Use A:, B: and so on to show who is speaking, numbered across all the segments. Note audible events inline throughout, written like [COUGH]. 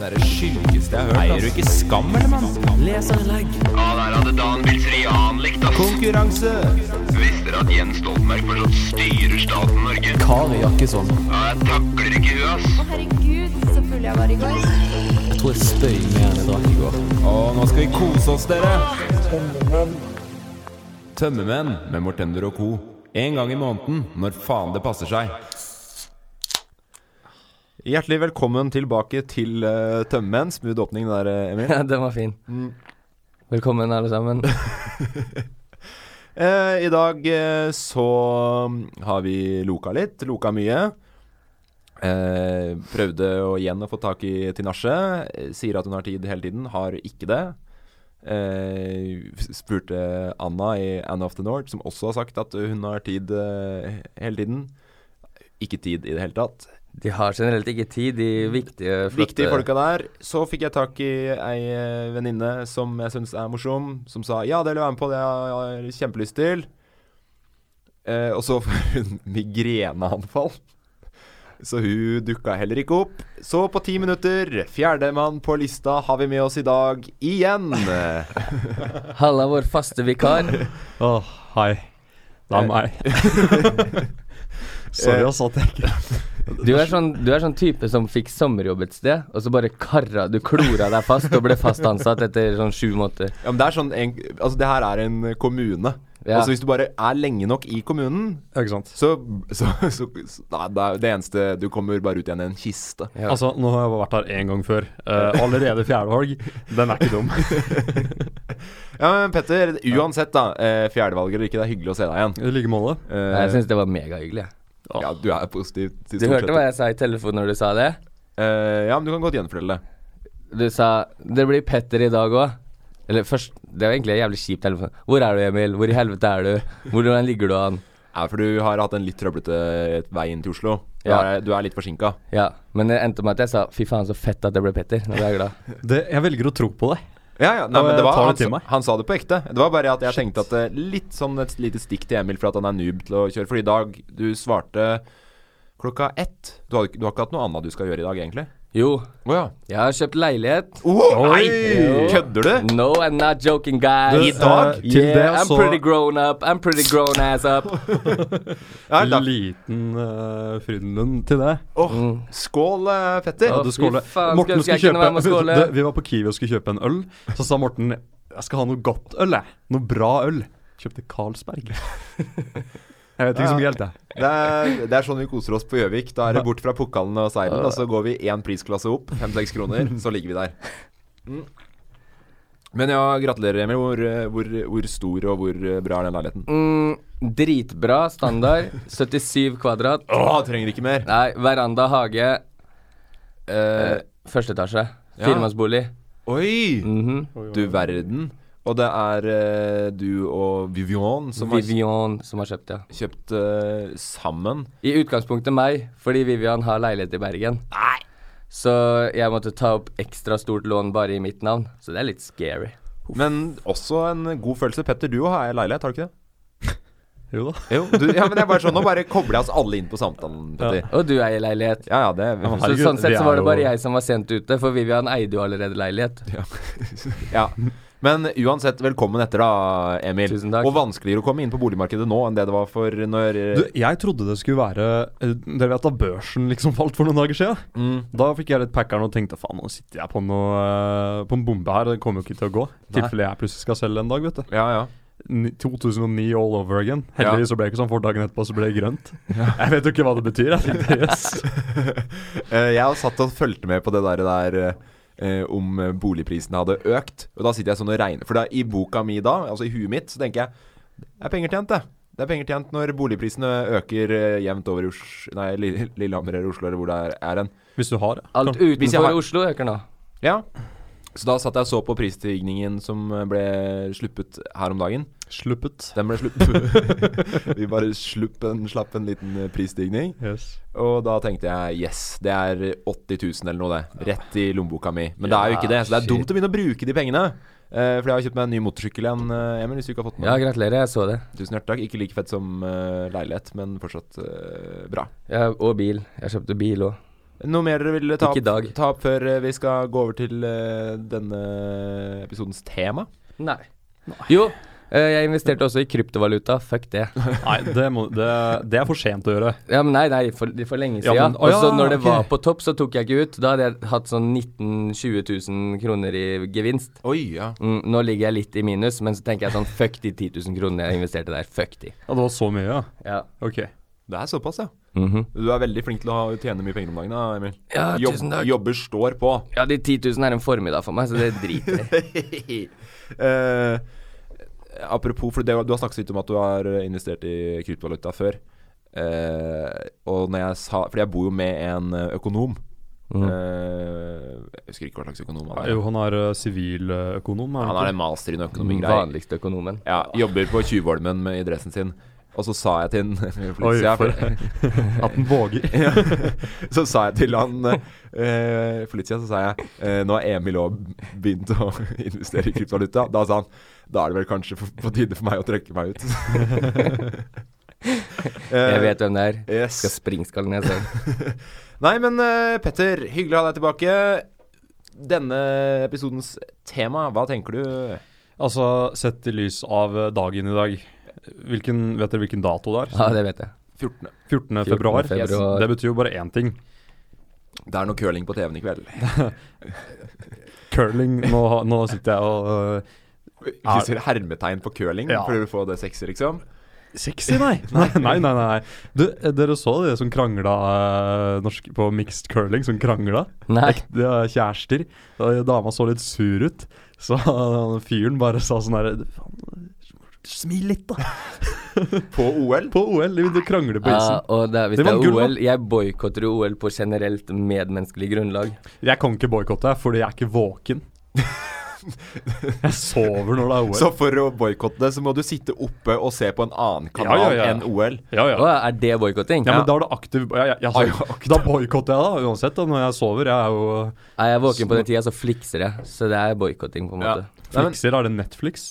A: derre sjukeste jeg har hørt. Eier du ikke skam, eller, mann? Leseanlegg.
B: Ja, der hadde Dan Bilseri anlagt, ass.
A: Konkurranse.
B: Visste dere at Jens Stoltenberg fortsatt styrer staten Norge?
A: Kari Jakkesson.
B: Ja, jeg takler ikke huet, ass.
C: Herregud, så full jeg var i går.
A: Jeg tror jeg spøy mer enn jeg drakk i går. Å, nå skal vi kose oss, dere. Tømmermenn med Mortender og co. En gang i måneden, når faen det passer seg.
D: Hjertelig velkommen tilbake til uh, Tømmermenn. Smooth åpning der, eh, Emil.
E: Ja, den var fin.
D: Mm.
E: Velkommen, alle
D: [LAUGHS]
E: sammen.
D: Eh, I dag eh, så mm, har vi loka litt. Loka mye. Eh, prøvde å igjen å få tak i Tinashe. eh, Sier at hun har tid hele tiden. Har ikke det. Eh, s- spurte Anna i Anna of the North, som også har sagt at hun har tid eh, hele tiden. Ikke tid i det hele tatt.
E: De har generelt ikke tid, de viktige, flotte
D: Viktige folka der. Så fikk jeg tak i ei eh, venninne som jeg syns er morsom, som sa ja, det vil jeg være med på, det har jeg kjempelyst til. Eh, og så får [LAUGHS] hun migreneanfall. Så hun dukka heller ikke opp. Så på ti minutter, fjerdemann på lista har vi med oss i dag igjen.
E: Halla, vår faste vikar.
F: Åh, hei. Det er
D: Eh.
E: [LAUGHS]
F: meg. Sorry, ass, at jeg ikke
E: Du er, sånn, du er sånn type som fikk sommerjobb et sted, og så bare karra Du klora deg fast og ble fast ansatt etter sånn sju måneder.
D: Ja, men det er sånn en, Altså, det her er en kommune.
E: Ja.
D: Altså, hvis du bare er lenge nok i kommunen,
F: Ja, Ikke sant.
D: så, så, så, så Nei, det er det eneste Du kommer bare ut igjen i en kiste.
E: Ja.
F: Altså, nå har jeg bare vært her én gang før. Eh, allerede fjerde valg. Den er ikke [LAUGHS] dum.
D: Ja, men Petter, uansett da, eh, fjerdevalg eller ikke, det er hyggelig å se deg igjen.
F: I like måte.
D: Eh,
E: Nei, Jeg syns det var megahyggelig. jeg.
D: ja, du er positiv til
E: Du hørte hva jeg sa i telefonen når du sa det?
D: Eh, ja, men du kan godt gjenfortelle det.
E: Du sa 'Det blir Petter i dag òg'. Eller først Det var egentlig en jævlig kjip telefon. 'Hvor er du, Emil? Hvor i helvete er du? Hvordan ligger du an?'
D: Ja, for du har hatt en litt trøblete eh, vei inn til Oslo. Du,
E: Ja.
D: er, du er litt forsinka.
E: Ja, men det endte med at jeg sa 'fy faen, så fett at det ble Petter'. Nå ble jeg glad.
F: Det, jeg velger å tro på det.
D: Ja, ja, nei,
F: Ja,
D: men det
F: jeg
D: var,
F: tar det
D: han,
F: til
D: sa-
F: meg.
D: han sa det på ekte. Det var bare at jeg tenkte at eh, litt sånn et lite stikk til Emil for at han er noob til å kjøre. For i dag, du svarte klokka ett. Du har, ikke- du har ikke hatt noe annet du skal gjøre i dag, egentlig?
E: Jo,
D: Å ja.
E: jeg har kjøpt leilighet.
D: Oh, nei!
E: Oi!
D: Kødder du?
E: No, I'm not joking, guys.
D: I dag? altså-
F: Eh, til det
E: Yeah, I'm
F: så
E: pretty grown up. I'm pretty grown ass up.
D: Ja, da.
F: liten eh, Frydenlund til det.
D: Åh, skål, eh, Petter.
E: Å,
F: Du
E: fy
F: skåler.
E: faen,
F: Morten
E: skulle
F: skulle
E: jeg kunne være
F: kjøpe
E: med og skåle.
F: det- Vi var på Kiwi og skulle kjøpe en øl. Så sa Morten jeg skal ha noe godt øl, jeg. Noe bra øl. Kjøpte
E: [LAUGHS]
F: Carlsberg. Jeg vet ikke så mye helt, jeg.
D: Det er, det er sånn vi koser oss på Gjøvik. Da er det bort fra pukkalen og seilen, og så går vi én prisklasse opp, fem-seks kroner, så ligger vi der. Mm. Men ja, gratulerer, Emil. Hvor, eh, hvor, hvor stor og hvor eh, bra er den leiligheten?
E: Mm, dritbra standard. 77 kvadrat.
D: Åh, trenger ikke mer.
E: Nei, veranda, hage. Eh, første etasje.
D: Ja.
E: Firemannsbolig.
D: Oi!
E: Mhm.
D: Du verden. Og det er eh, du og Vivian som har
E: Vivian som har kjøpt, ja.
D: kjøpt eh, sammen.
E: I utgangspunktet meg, fordi Vivian har leilighet i Bergen. Nei. Så jeg måtte ta opp ekstra stort lån bare i mitt navn. Så det er litt scary.
D: Men også en god følelse. Petter, du òg har leilighet, har du ikke det?
F: Jo da.
D: Jo, du, ja, men det er bare sånn, Nå bare kobler jeg oss alle inn på samtalen, Petter.
E: Og du eier leilighet.
D: Ja, ja, det
E: Så
F: Herregud,
E: sånn sett
F: vi
E: så
F: er
E: var det bare
F: jo-
E: jeg som var sent ute, for Vivian eide jo allerede leilighet.
D: Ja. Men uansett, velkommen etter da, Emil.
E: Tusen takk.
D: Og vanskeligere å komme inn på boligmarkedet nå enn det det var for når eh,
F: Du, jeg trodde det skulle være eh, Dere vet da børsen liksom falt for noen dager siden?
E: Mm.
F: Da fikk jeg litt packeren og tenkte faen, nå sitter jeg på, noe, eh, på en bombe her. Det kommer jo ikke til å gå. I tilfelle jeg plutselig skal selge en dag, vet du.
D: Ja, ja. [LAUGHS]
F: Ni- 2009 all over again. Heldigvis så ble det ikke sånn, for dagen etterpå så ble det
E: [LAUGHS]
F: grønt. Jeg vet jo ikke hva det betyr. Jeg tenkte yes.
D: Eh, jeg har satt og fulgte med på det der, der eh, om boligprisene hadde økt. Og da sitter jeg sånn og regner. For da, i boka mi da, altså i huet mitt, så tenker jeg det er penger tjent, det. Det er penger tjent når boligprisene øker eh, jevnt over i Os- nei, Lill- Lillehammer eller Oslo eller hvor det er- er hen.
F: Hvis du har det. [LAUGHS]
E: Alt
D: Hvis jeg
E: utenfor
D: har-
E: Oslo øker nå.
D: Ja. Så da satt jeg og så på prisstigningen som eh, ble sluppet her om dagen.
F: Sluppet.
D: Den ble slupp. [LAUGHS] Vi bare slupp en, slapp en liten eh, prisstigning.
F: Yes.
D: Og da tenkte jeg yes, det er 80 000 eller noe, det. Rett i lommeboka mi. Men det er jo ikke det, så det er dumt å begynne å bruke de pengene. Eh, for jeg har kjøpt meg en ny motorsykkel igjen, eh, Emil, hvis du ikke har fått med
E: Ja,
D: deg
E: gratulerer, jeg så det.
D: Tusen hjertelig takk. Ikke like fett som eh, leilighet, men fortsatt eh, bra.
E: Ja, og bil. Jeg kjøpte bil òg.
D: Noe mer dere vil ta
E: Ikke i
D: opp,
E: dag.
D: ta opp før eh, vi skal gå over til eh, denne episodens tema?
E: Nei. Jo, eh, jeg investerte også i kryptovaluta. Fuck
F: [LAUGHS]
E: det.
F: Nei, det, må, det, det er for sent å gjøre.
E: Ja, men nei, nei, for, for lenge
F: Ja,
E: siden.
F: men- å
E: og så
F: ja,
E: når det
F: ok.
E: var på topp, så tok jeg ikke ut. Da hadde jeg hatt sånn 19 000-20 000 kroner i gevinst.
D: Oi, ja.
E: Mm, nå ligger jeg litt i minus, men så tenker jeg sånn fuck de 10 000 kronene jeg investerte der. Fuck de.
F: Ja, det var så mye, ja.
E: Ja.
F: Ok.
D: Det er såpass, ja.
E: Mhm.
D: Du er veldig flink til å ha- tjene mye penger om dagen, da, Emil.
E: Ja,
D: Jobb-
E: tusen takk.
D: Jobber står på.
E: ja, de 10 000 er en formiddag for meg, så det driter
F: [LAUGHS]
E: jeg i.
D: Eh, apropos, for det, du har snakket litt om at du har investert i kryptovaluta før. Eh, og når jeg sa Fordi jeg bor jo med en eh, økonom. Eh, jeg husker ikke hva slags økonom han er.
F: Jo, han er eh, siviløkonom.
D: Han har en master i noe økonomigreier.
E: Vanligste økonomen.
D: Ja, jobber på Tjuvholmen med- i dressen sin. Og så sa jeg til [LAUGHS] han for litt
F: Oi,
D: siden,
F: for
D: for-
F: At han våger.
D: [LAUGHS] Ja. Så sa jeg til han eh, for litt siden, så sa jeg eh, nå har Emil òg begynt å [LAUGHS] investere i kryptovaluta. Da sa han da er det vel kanskje på, på tide for meg å trekke meg ut.
F: Eh,
E: Jeg vet hvem det er.
D: Yes.
E: Skal springskalle ned selv.
F: [LAUGHS]
D: Nei, men eh, Petter, hyggelig å ha deg tilbake. Denne episodens tema, hva tenker du?
F: Altså, sett i lys av eh, dagen i dag hvilken, Vet dere hvilken dato det er?
E: Ja, det vet jeg.
D: 14.
F: 14. februar.
E: februar.
F: Det betyr jo bare én ting.
D: Det er noe curling på TV-en i kveld.
F: Curling. Nå, ha- nå sitter jeg og eh,
D: Vi sier hermetegn på curling
F: Ja.
D: for å få det sexy, liksom.
F: Sexy, nei. [LAUGHS] nei! Nei, nei, nei. Du, eh, dere så de som krangla eh, norsk, på mixed curling, som krangla?
E: Nei.
F: Ek- De er kjærester. Og dama så litt sur ut, så han fyren bare sa sånn herre Faen, smil litt, da.
D: På OL.
F: På OL. De krangler på
E: Ja,
F: isen.
E: og det, er- hvis
F: Det
E: det,
F: var
E: er
F: gull, da.
E: OL Jeg boikotter jo OL på generelt medmenneskelig grunnlag.
F: Jeg kan ikke boikotte, fordi jeg er ikke [LAUGHS] våken. Jeg sover når det er OL.
D: Så for å boikotte det, så må du sitte oppe og se på en annen kanal
F: Ja, ja, ja.
D: enn OL.
F: Ja, ja.
E: Å, er det boikotting?
F: Ja, men da er du aktiv ja, ja, ja,
D: Ah, ja,
F: altså, Da boikotter jeg, da, uansett. Da, når jeg sover. Jeg er jo
E: Er jeg våken på den tida, så flikser jeg. Så det er boikotting, på en måte.
D: Nei, men,
F: Flixer, er det Netflix?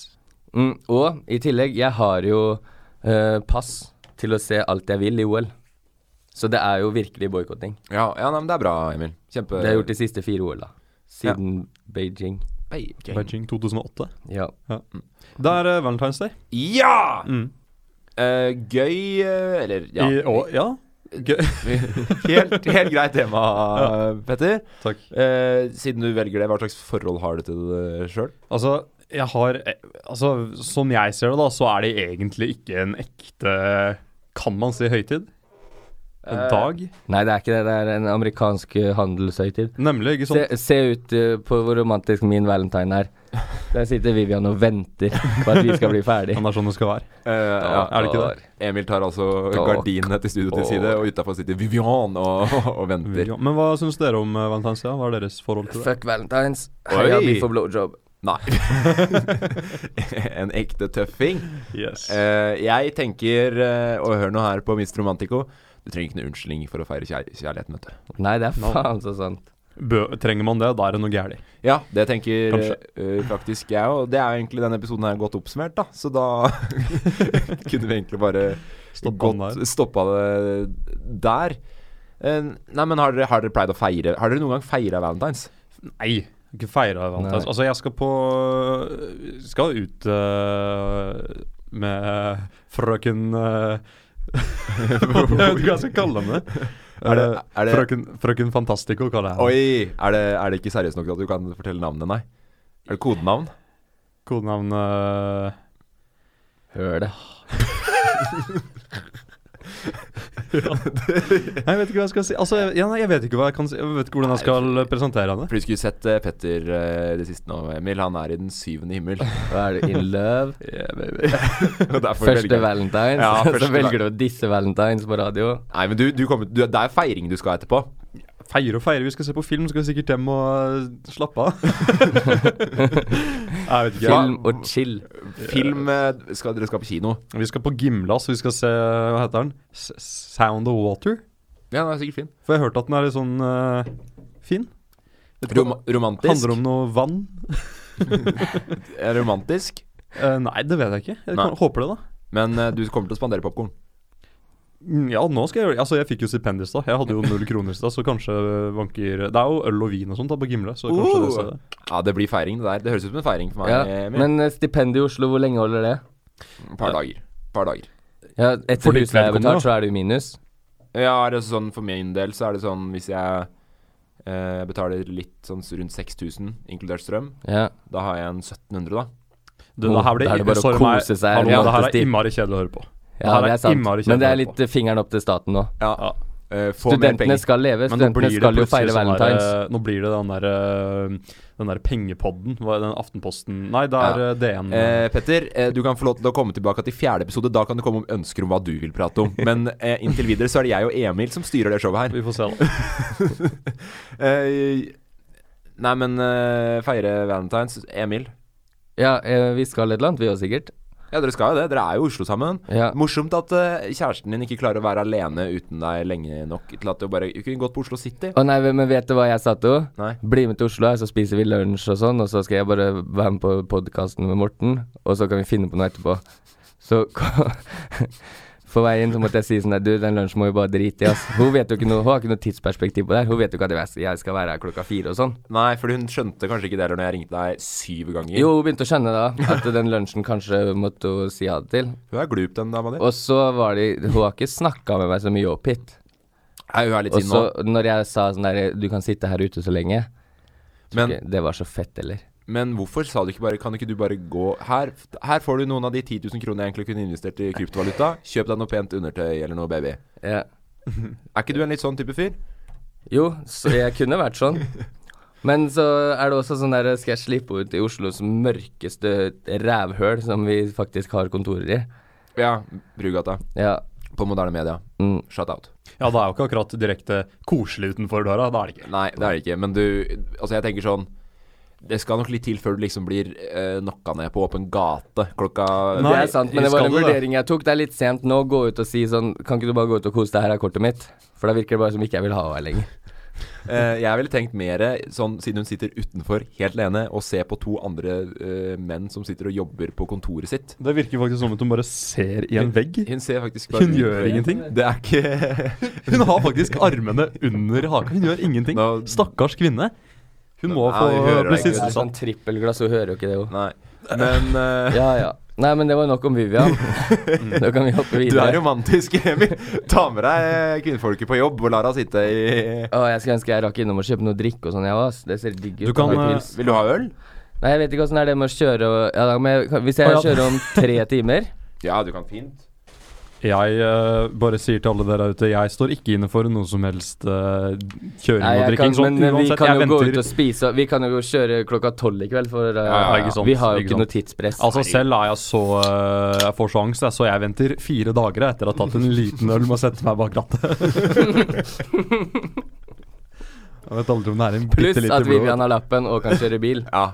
E: Mm, og i tillegg, jeg har jo eh, pass til å se alt jeg vil i OL. Så det er jo virkelig boikotting.
D: ja, ja, nei, men det er bra, Emil. Kjempe
E: Det har jeg gjort de siste fire OL, da. Siden Beijing.
F: Beijing 2008.
E: Ja.
F: Det er eh, Valentine's Day.
D: Ja! Eh, gøy eh, Eller ja.
F: Mm. I år, ja. Gøy.
D: [LAUGHS] Helt, helt greit
F: [LAUGHS]
D: tema, Petter.
F: Takk.
D: Eh, siden du velger det, hva slags forhold har du til det sjøl?
F: Altså, jeg har eh, Altså, som jeg ser det, da, så er det egentlig ikke en ekte Kan man si høytid? En
D: Eh,
F: dag?
E: Nei, det er ikke det. Det er en amerikansk eh, handelshøytid.
F: Nemlig, ikke sant?
E: Se, se ut eh, på hvor romantisk min valentine er. Der sitter Vivian og venter på at vi skal bli ferdig.
F: Han er sånn det skal være.
D: ja,
F: er det ikke det?
D: Emil tar altså
E: Takk.
D: gardinene til studio til side, og utafor sitter Vivian og, og venter.
F: Ja, Men hva syns dere om eh, Valentine's Day? Hva er deres forhold til det?
E: Fuck valentines.
D: Oi.
E: Heia Biff og blowjob.
D: Nei. [LAUGHS] en ekte tøffing.
F: Yes.
D: Eh, jeg tenker, eh, og hør nå her på Mist Romantico Du trenger ikke noen unnskyldning for å feire kjær kjærligheten, vet du.
E: Nei, det er faen så sant.
F: Bø, trenger man det, da er det noe gærent.
D: Ja, det tenker eh,
F: Kanskje.
D: eh, faktisk jeg òg. Det er jo egentlig denne episoden her godt oppsummert, da. Så da [LAUGHS] kunne vi egentlig bare
F: Stoppa den der.
D: godt stoppa det der. Eh, nei, men har dere, har dere pleid å feire Har dere noen gang feira valentines?
F: Nei. Ikke feire Valentine's.
E: Nei.
F: Altså, jeg skal på Skal ut eh, med frøken eh, [LAUGHS] Jeg vet ikke hva jeg skal kalle henne. Eh,
D: Er det- er det-
F: frøken, frøken Fantastico, kaller jeg henne.
D: Oi! Er det, er det ikke seriøst nok til at du kan fortelle navnet, nei? Er det kodenavn?
F: Kodenavn eh,
E: Hør det.
F: Nei, Jeg vet ikke hva jeg skal si. Altså, jeg, ja, nei, jeg vet ikke hva jeg kan si. Jeg vet ikke hvordan jeg skal presentere henne.
D: For du skulle sett eh, Petter eh, det siste nå, Emil. Han er i den syvende himmel.
E: Hva er du, in love?
D: [LAUGHS] Og derfor velger
E: Første
D: jeg-
E: valentines.
D: Ja, første
E: [LAUGHS] så velger du å disse valentines på radio.
D: Nei, men du, du kommer, du, det er feiring du skal etterpå.
F: Feire og feire. Vi skal se på film, så skal vi sikkert hjem og eh, slappe av. [LAUGHS] jeg vet ikke.
D: Ja.
E: Film og chill.
D: Film eh, skal, Dere skal på kino.
F: Vi skal på Gimla, så vi skal se Hva heter den? S Sound of Water?
D: Ja, den er sikkert fin.
F: For jeg har hørt at den er litt sånn eh, fin.
D: Rom romantisk?
F: Handler om noe vann?
D: Eh, romantisk.
F: Eh, nei, det vet jeg ikke. Jeg
D: Nei.
F: kan, håper det, da.
D: Men eh, du kommer til å spandere popkorn.
F: Mm, Ja, nå skal jeg gjøre det. Altså, jeg fikk jo stipend i stad. Jeg hadde jo null kroner i stad, så kanskje vanker Det er jo øl og vin og sånt da på Gimle, så kanskje det ser det.
D: Ja, det blir feiring, det der. Det høres ut som en feiring for meg.
E: Ja,
D: Emil.
E: men eh, stipendet i Oslo, hvor lenge holder det?
D: Et par dager. Et par dager.
E: Ja,
F: For
E: etter
F: ditt
E: husleie
F: vedkommende,
E: betalt, så er det jo minus.
D: Ja, altså sånn for min del så er det sånn hvis jeg eh, betaler litt sånn rundt 6000 inkludert strøm,
E: Ja.
D: da har jeg en 1700, da.
F: Du, det her
E: Da er
F: blir
E: det bare å
F: sorry meg.
E: kose seg
F: Hallo,
E: her.
F: det her er
E: Ja.
F: innmari kjedelig å høre på.
E: Ja,
F: her
E: det
F: er
E: er sant.
F: innmari kjedelig
E: Men det er
F: å høre
E: litt eh, fingeren opp til staten nå.
D: Ja. Eh, få mer
E: Studentene
D: penger.
E: skal leve,
F: Men nå blir
E: studentene skal
F: det
E: jo
F: plutselig
E: feire
F: sånn der,
E: valentines.
F: eh, Nå blir det den der, eh, den der pengepodden, hva er den Aftenposten Nei, det er
D: Ja.
F: eh, DN.
E: Mm.
D: Eh, Petter, eh, du kan få lov til å komme tilbake til fjerde episode. Da kan du komme om ønsker om hva du vil prate om. Men eh, inntil videre så er det jeg og Emil som styrer det showet her.
F: Vi får se, da.
D: [LAUGHS] Eh, nei, men eh, feire valentines. Emil.
E: Ja, eh, vi skal et eller annet, vi òg sikkert.
D: Ja, dere skal jo det. Dere er jo i Oslo sammen.
E: Ja.
D: Morsomt at eh, kjæresten din ikke klarer å være alene uten deg lenge nok til at du bare Du kunne gått på Oslo City.
E: Å nei, men vet du hva jeg sa til henne?
D: Nei.
E: Bli med til Oslo, her, så spiser vi lunsj og sånn, og så skal jeg bare være med på podkasten med Morten, og så kan vi finne på noe etterpå. Så [LAUGHS] kom- på vei inn så måtte jeg si sånn der, du, den lunsjen må vi bare drite i, ass. Hun vet jo ikke noe, hun har ikke noe tidsperspektiv på det her. Hun vet jo ikke at jeg- jeg skal være her klokka fire og sånn.
D: Nei, fordi hun skjønte kanskje ikke det heller når jeg ringte deg syv ganger.
E: Jo, hun begynte å skjønne da at den lunsjen kanskje måtte hun si ja til.
D: Hun er glup, den dama di.
E: Og så var de Hun har ikke snakka med meg så mye opp hit.
D: Nei, hun er litt
E: Og
D: sint nå.
E: så når jeg sa sånn der, du kan sitte her ute så lenge,
D: Men,
E: Ok, det var så fett, eller?
D: men hvorfor sa du ikke bare Kan ikke du bare gå her? Her får du noen av de 10 000 kronene jeg egentlig kunne investert i kryptovaluta. Kjøp deg noe pent undertøy eller noe, baby.
E: Ja.
D: Er ikke du en litt sånn type fyr?
E: Jo, så jeg kunne vært sånn. Men så er det også sånn der Skal jeg slippe ut i Oslos mørkeste rævhøl, som vi faktisk har kontorer i?
D: Ja. Brugata.
E: Ja.
D: På moderne media.
E: Mm.
D: Shut out.
F: Ja, det er jo ikke akkurat direkte koselig utenfor døra. Det er det ikke.
D: Nei, det er det ikke. Men du Altså, jeg tenker sånn det skal nok litt til før du liksom blir eh, knocka ned på åpen gate klokka
F: Nei,
E: det er sant, men det var
F: skal
E: en
F: du det?
E: vurdering jeg tok. Det er litt sent nå å gå ut og si sånn Kan ikke du bare gå ut og kose deg, her er kortet mitt? For da virker det bare som ikke jeg vil ha henne her lenger.
D: Eh, jeg ville tenkt mer sånn siden hun sitter utenfor helt alene og ser på to andre eh, menn som sitter og jobber på kontoret sitt.
F: Det virker faktisk som at hun bare ser i en vegg.
D: Hun ser faktisk
F: Hun gjør ingenting.
D: Det er ikke
F: Hun har faktisk armene under haka. Hun gjør ingenting.
D: Nå-
F: Stakkars kvinne. Hun må
D: Nei,
F: få
D: vi hører deg ikke,
F: bli
E: Det er
F: sysselsatt.
E: sånn trippelglass, hun hører jo ikke det, hun.
D: Nei.
F: [LAUGHS]
D: Men eh,
E: Ja ja. Nei, men det var nok om Vivian. Nå kan vi hoppe
D: [LAUGHS] du er
E: videre.
D: romantisk, Emil. Ta med deg eh, kvinnfolket på jobb og la henne sitte i
E: Å, jeg skulle ønske jeg rakk innom og kjøpe noe drikke og sånn, jeg òg, ass. Det ser digg ut.
F: Du kan,
E: Har
F: eh,
E: pils.
D: [LAUGHS] Vil du ha øl?
E: Nei, jeg vet ikke åssen det er det med å kjøre og ja, da må jeg, kan- Hvis jeg
F: Å, ja.
E: kjører om
F: [LAUGHS]
E: tre timer
D: Ja, du kan fint.
F: Jeg eh, bare sier til alle dere der ute, jeg står ikke inne for noe som helst eh, kjøring
E: Nei,
F: og
E: jeg
F: drikking.
E: kan,
F: Sånn,
E: Men eh, vi
F: uansett,
E: kan
F: jeg
E: jo gå ut
F: venter
E: og spise, og vi kan jo kjøre klokka tolv i kveld, for eh,
F: ja, ikke sant,
E: vi har jo
F: ikke
E: ikke noe
F: sant.
E: tidspress.
F: Altså Selv er jeg så eh, Jeg får så angst, jeg, så jeg venter fire dager jeg, etter å ha tatt en liten øl med å sette meg bak rattet. [LAUGHS] jeg vet aldri om det er en
E: Pluss
F: bitte lite
E: at Vivian har lappen og kan kjøre
F: [LAUGHS]
E: bil.
D: Ja.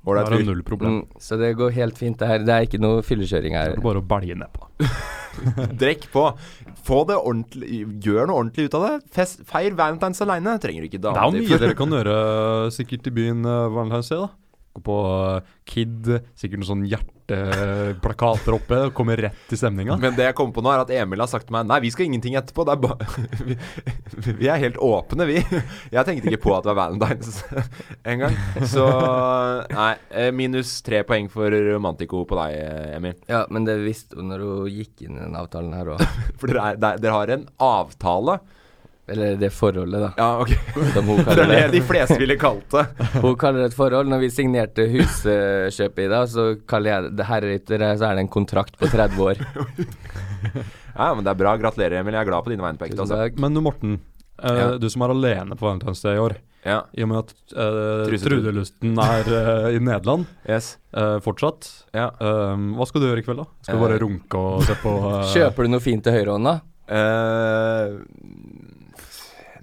F: Da
D: Ålreit
F: er det
D: fyr.
F: null problem.
E: Mm, så det går helt fint, det her. Det er ikke noe fyllekjøring
F: Det
E: her.
F: er bare å belge nedpå.
D: [LAUGHS] Drekk på. Få det ordentlig Gjør noe ordentlig ut av det. Fest, feir Valentine's aleine. Trenger du ikke
F: Det er jo
D: damer
F: mye dere kan gjøre sikkert i byen uh, Valentine's Day, da. Gå på eh, Kid, sikkert noen sånne hjerteplakater oppe. og Komme rett til stemninga.
D: Men det jeg kom på nå, er at Emil har sagt til meg Nei, vi skal ingenting etterpå. Det er ba [LAUGHS] vi, vi er helt åpne, vi. [LAUGHS] Jeg tenkte ikke på at det var Valentine's [LAUGHS] engang. Så nei. eh, Minus tre poeng for Romantico på deg, eh, Emil.
E: Ja, men det visste hun når hun gikk inn i den avtalen her
F: [LAUGHS]
E: òg.
D: For dere, er, dere har en avtale.
E: Eller det forholdet, da.
D: Ja, ok.
E: Som
F: [LAUGHS]
D: [LAUGHS]
E: hun
D: Det er det
E: kaller det.
D: de fleste ville kalt det.
E: Hun kaller det et forhold. Når vi signerte huskjøpet i dag, så kaller jeg det- det heretter så er det en kontrakt på 30 år.
D: Ja, men det er bra. Gratulerer, Emil. Jeg er glad på dine vegne, på ekte.
E: Tusen
D: Altså.
E: takk.
F: Men du, Morten. eh,
D: Ja.
F: Du som er alene på Valentine's Day i år.
D: Ja.
F: I og med at eh,
D: Trusetrud.
F: trudelusten er eh, i Nederland
D: Yes.
F: eh, fortsatt.
D: Ja.
F: Um, hva skal du gjøre i kveld, da? Skal du bare
D: Eh,
F: runke og se på [LAUGHS] eh,
E: Kjøper du noe fint til høyrehånda?
D: eh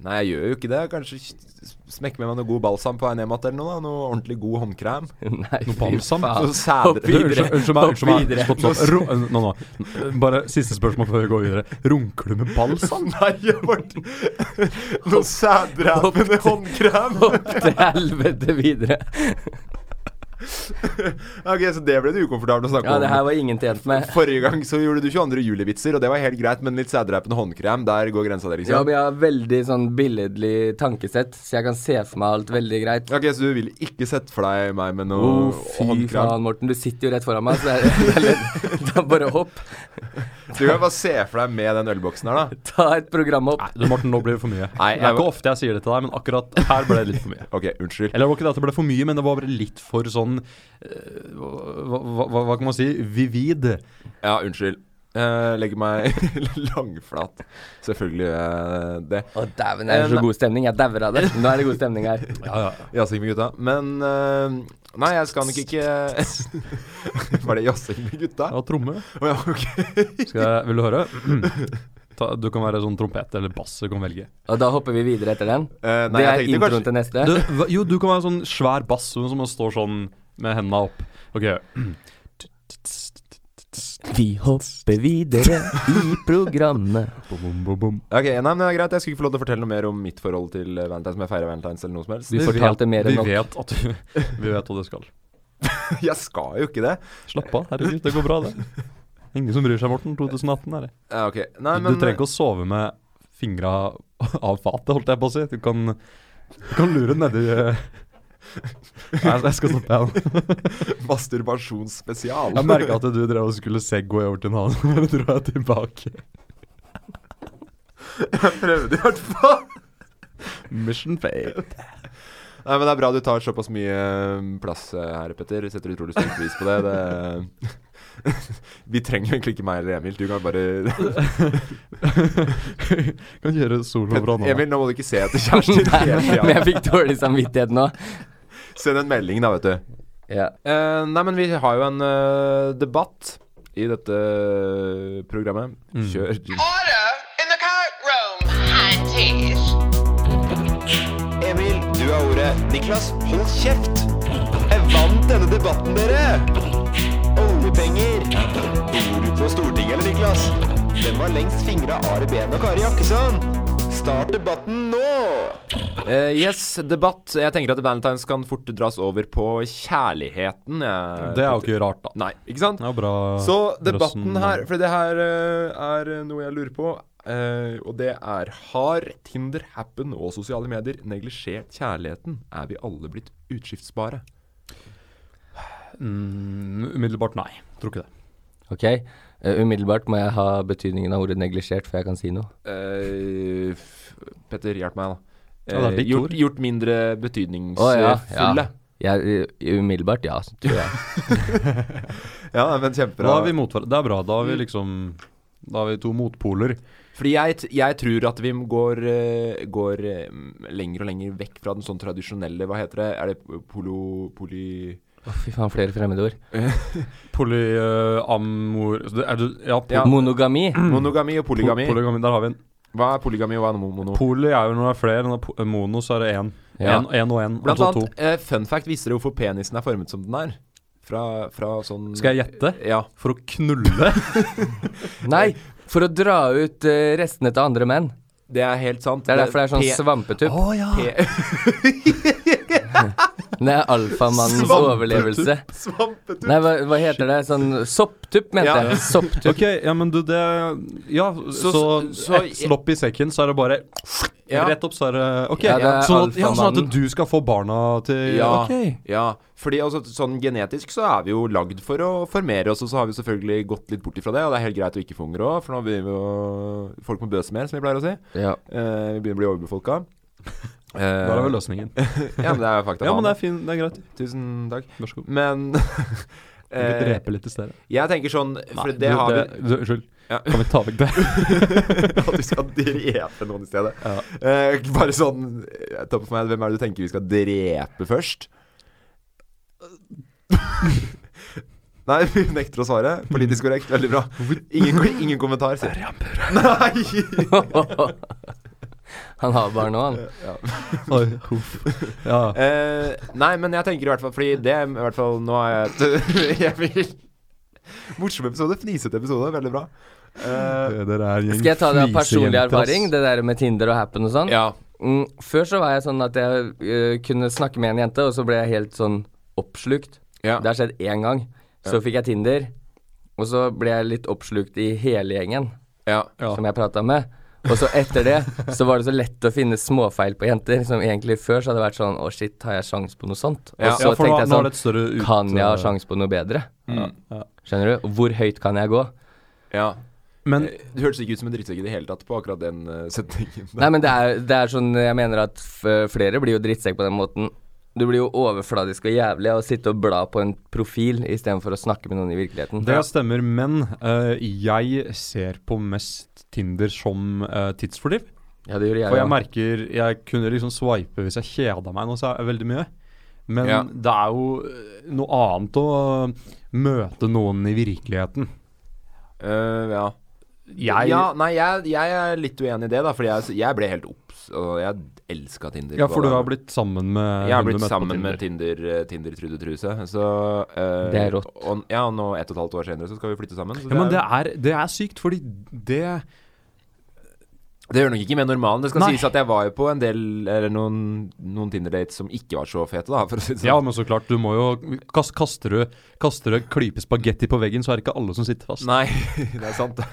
D: nei, jeg gjør jo ikke det. Kanskje s- smekke med meg noe god balsam på veien hjem igjen eller noe. da Noe ordentlig god håndkrem.
E: [LAUGHS] Nei,
F: Noe
E: fy
F: balsam?
E: faen.
D: Noe sædre.
E: Hopp videre.
F: Unnskyld unnskyld meg. unnskyld meg.
E: videre.
F: Stopp, stopp. Ro, eh, nå, nå. Bare siste spørsmål før vi går videre. Runker du med balsam?
D: [LAUGHS]
F: [LAUGHS]
D: Nei, jeg bare Noe sæddræpende håndkrem.
E: Hopp til helvete videre.
D: Ok, Så det ble du ukomfortabel å snakke
E: Ja, det her
D: om.
E: var ingen tjent med.
D: Forrige gang så gjorde du 22. juli-vitser, og det var helt greit, men litt sæddreipende håndkrem, der går grensa di,
E: Ja,
D: liksom.
E: men jeg har veldig sånn billedlig tankesett, så jeg kan se for meg alt veldig greit.
D: Ok, Så du ville ikke sett for deg meg med
E: Å,
D: noe
E: fy
D: håndkrem?
E: faen, Morten. Du sitter jo rett foran meg, så det er, [LAUGHS] det er litt, da bare hopp.
D: Du kan bare se for deg med den ølboksen her, da.
E: Ta et program opp.
F: Du, Morten, nå blir det for mye.
D: Nei,
F: det er
D: jeg-
F: ikke ofte jeg sier det til deg, men akkurat her ble det litt for mye.
D: Ok, unnskyld.
F: Eller det var ikke det at det ble for mye, men det var bare litt for sånn eh, hva, hva, hva- hva kan man si? Vivid.
D: Ja, unnskyld. Eh, legger meg [LAUGHS] langflat. Selvfølgelig gjør jeg det.
E: Å, dæven, det er så god stemning. Jeg dauer av det. Nå er det god stemning her.
D: Jazzing med gutta. Men eh, Nei, jeg skal nok ikke [LAUGHS] Var det jazzing med gutta?
F: Ja, tromme.
D: Å ja, ok.
F: Skal jeg, vil du høre? [CLEARS THROAT] Ta, du kan være sånn trompet eller bass, du kan velge.
E: Og da hopper vi videre etter den.
D: Eh, nei,
E: det er
D: jeg tenkte
E: introen
D: kanskje-
E: til neste.
F: Du, hva- jo, du kan være sånn svær bass sånn som står sånn med hendene opp. Ok.
E: Vi hopper videre i
D: [LAUGHS]
E: programmet.
D: Ok, Nei, men det er greit. Jeg skulle ikke få lov til å fortelle noe mer om mitt forhold til eh, Valentine's. Om jeg feirer Valentine's eller noe som helst.
E: Vi fortalte mer enn
F: vi
E: nok.
F: vet at du [LAUGHS] Vi vet hva du skal.
D: [LAUGHS] Jeg skal jo ikke det.
F: Slapp av, herregud. Det går bra, det. Ingen som bryr seg, Morten. 2018 er det.
D: Ja, ok. Nei, men
F: Du,
D: eh,
F: du trenger ikke å sove med fingra [LAUGHS] av fatet, holdt jeg på å si. Du kan, du kan lure nedi [LAUGHS] eh. Nei, jeg skal stoppe igjen.
D: eh, masturbasjonsspesial.
F: Jeg merka
D: [LAUGHS]
F: at du drev og skulle segway over til en annen, [LAUGHS] men du dro jeg tilbake.
D: Jeg prøvde i hvert fall.
F: Mission failed.
D: Nei, men det er bra du tar såpass mye eh, plass eh, her, Petter. Setter utrolig stor pris på det. det eh, [LAUGHS] Vi trenger jo egentlig ikke meg eller Emil. Du kan bare
F: [LAUGHS] kan kjøre solo fra nå.
D: Emil, nå må du ikke se etter
E: [LAUGHS]
D: kjæresten din.
E: Men jeg
D: hele tiden.
E: fikk dårlig samvittighet nå.
D: Send en melding, da, vet du.
E: Ja.
D: Eh, nei, men vi har jo en eh, debatt i dette programmet.
F: Mm.
D: Kjør.
G: Order in the courtroom. Aunties.
B: Emil, du har ordet. Niklas, hold kjeft! Jeg vant denne debatten, dere! Oljepenger. Bor du på Stortinget, eller, Niklas? Den var lengst fingra Are Behn og Kari Jakkesson. Start debatten nå!
D: Eh, yes, debatt. Jeg tenker at Valentine's kan fort dras over på kjærligheten. jeg,
F: Det er jo
D: Petter.
F: ikke rart, da.
D: Nei, ikke sant?
F: Det er jo bra
D: Så debatten her, for det her eh, er noe jeg lurer på, eh, og det er Har Tinder, Happen og sosiale medier neglisjert kjærligheten? Er vi alle blitt utskiftsbare?
F: Mm, Umiddelbart nei. Tror ikke det.
E: Ok, eh, umiddelbart må jeg ha betydningen av ordet neglisjert før jeg kan si noe.
D: Eh, f- Petter, hjelp meg, da.
F: Ja, det er
D: Eh,
F: ditt ord.
D: gjort, gjort mindre
E: Å,
D: betydningsfulle.
E: ja. Jeg, eh, umiddelbart, ja, tror jeg.
D: Ja, men
F: Da er vi
D: kjempebra.
F: motvar- det er bra. Da
D: Mm.
F: har vi liksom Da har vi to motpoler.
D: Fordi jeg, t- jeg tror at vi går, eh, går eh, lenger og lenger vekk fra den sånn tradisjonelle Hva heter det? Er det polo... poli...
E: Å, fy faen, flere fremmedord.
F: eh, Polyamor Er du Ja, po
D: Ja.
E: Monogami.
D: Monogami og polygami.
F: po- polygami. Der har vi en.
D: Hva er polygami, og hva er mono? mono?
F: Poly er jo når det er flere. Når det er mono, så er det én.
E: Ja.
F: Én én og én.
D: Blant
F: altså
D: annet, eh, fun fact, viser det hvorfor penisen er formet som den er? Fra, fra sånn
F: to. Skal jeg gjette?
D: Ja.
F: For å knulle?
D: [LAUGHS]
E: Nei, for å dra ut eh, restene til andre menn.
D: Det er helt sant.
E: Det er derfor det er sånn
D: Pe-
E: svampetupp.
F: ja.
D: pe-
E: Det er alfamannens
D: Svampetupp.
E: overlevelse.
D: Svampetupp.
E: Nei, hva, hva heter det? Sånn sopptupp, mente
D: Ja.
E: jeg. Sopptupp.
F: Ok, ja, men du, det Ja, så, så,
D: så- så-
F: ett slopp i sekken, så er det bare
D: [LAUGHS] Ja.
F: Rett opp, så er det Ok.
E: Ja, det er
F: sånn, at, ja, sånn
E: alfamannen.
F: at du skal få barna til
D: Ja,
F: Ok.
D: ja. Fordi altså, sånn genetisk så er vi jo lagd for å formere oss, og så har vi selvfølgelig gått litt bort ifra det, og det er helt greit å ikke få unger òg, for nå begynner vi å Folk må bøse mer, som vi pleier å si.
E: Ja. [LAUGHS]
D: Eh, vi begynner å bli overbefolka.
F: [LAUGHS]
D: Eh,
F: Der er vel løsningen.
D: ja, men det er fakta.
F: [LAUGHS] Ja, men det er fint. Det er greit.
D: Tusen takk.
F: Vær så god.
D: Men [LAUGHS]
F: Vi
D: eh,
F: dreper litt i stedet.
D: Jeg tenker sånn For
F: Nei,
D: det
F: du,
D: har vi
F: du, Unnskyld.
D: Ja.
F: Kan vi ta vekk det?
D: [LAUGHS]
E: [LAUGHS]
D: At vi skal drepe noen i stedet.
F: Ja.
D: Eh, bare sånn eh, Topp for meg, hvem er det du tenker vi skal drepe først? [LAUGHS] Nei, vi nekter å svare. Politisk korrekt, veldig bra. Ingen, ingen kommentar. sier- Nei!
E: Han har barn nå, han.
F: Oi, huff. Ja.
D: Eh, nei, men jeg tenker i hvert fall Fordi det er i hvert fall Nå er jeg et jeg [LAUGHS] vil, Morsom episode. Fnisete episode. Veldig bra. Eh,
F: Dere er en gjeng
E: Skal jeg ta det av personlig
F: fnisejenter, ass.
E: erfaring, det der med Tinder og Happen og sånn?
D: ja.
E: Mm, før så var jeg sånn at jeg eh, kunne snakke med en jente, og så ble jeg helt sånn oppslukt.
D: Ja.
E: Det har skjedd én gang. Så fikk jeg Tinder, og så ble jeg litt oppslukt i hele gjengen
D: Ja.
E: som jeg prata med. Og så etter det så var det så lett å finne småfeil på jenter, som egentlig før så hadde det vært sånn Å, shit, har jeg sjans på noe sånt? Og
D: Ja,
E: så
F: ja, for nå-
E: tenkte jeg
F: nå er det
E: sånn
F: et større ut- eh,
E: Kan jeg ha sjans på noe bedre?
D: mm.
E: Skjønner du? Hvor høyt kan jeg gå?
D: ja.
F: Men
D: Du hørtes ikke ut som en drittsekk i det hele tatt på akkurat den eh, setningen.
E: Nei, men det er, det er sånn Jeg mener at f flere blir jo drittsekk på den måten. Du blir jo overfladisk og jævlig av å sitte og bla på en profil istedenfor å snakke med noen i virkeligheten.
F: Det stemmer, men eh, jeg ser på mest Tinder som eh, tidsfordriv.
E: Ja, det gjorde jeg
F: For jeg
E: òg.
F: merker Jeg kunne liksom swipe hvis jeg kjeda meg nå så er jeg veldig mye. Men
D: Ja.
F: det er jo eh, noe annet å møte noen i virkeligheten.
D: Eh, ja.
F: Jeg
D: ja, nei, jeg, jeg er litt uenig i det, da. Fordi jeg, jeg ble helt obs, og jeg elska Tinder.
F: Ja, for du
D: Hva da?
F: har blitt sammen med
D: Jeg har
F: hun du
D: blitt
F: møtte på
D: sammen med
F: Tinder.
D: Tinder, eh, Tinder Trude Truse. Så eh,
E: Det er rått.
D: Og, ja, og nå ett og et halvt år senere så skal vi flytte sammen. Så
F: Ja, men det er, det er sykt, fordi det
D: Det gjør nok ikke med normalen. Det skal
F: Nei.
D: sies at jeg var jo på en del Eller noen, noen Tinder-dates som ikke var så fete, da, for å si det sånn.
F: Ja, men så klart, du må jo kast, Kaster du Kaster du en klype spagetti på veggen, så er det ikke alle som sitter fast.
D: Nei, [LAUGHS] det er sant.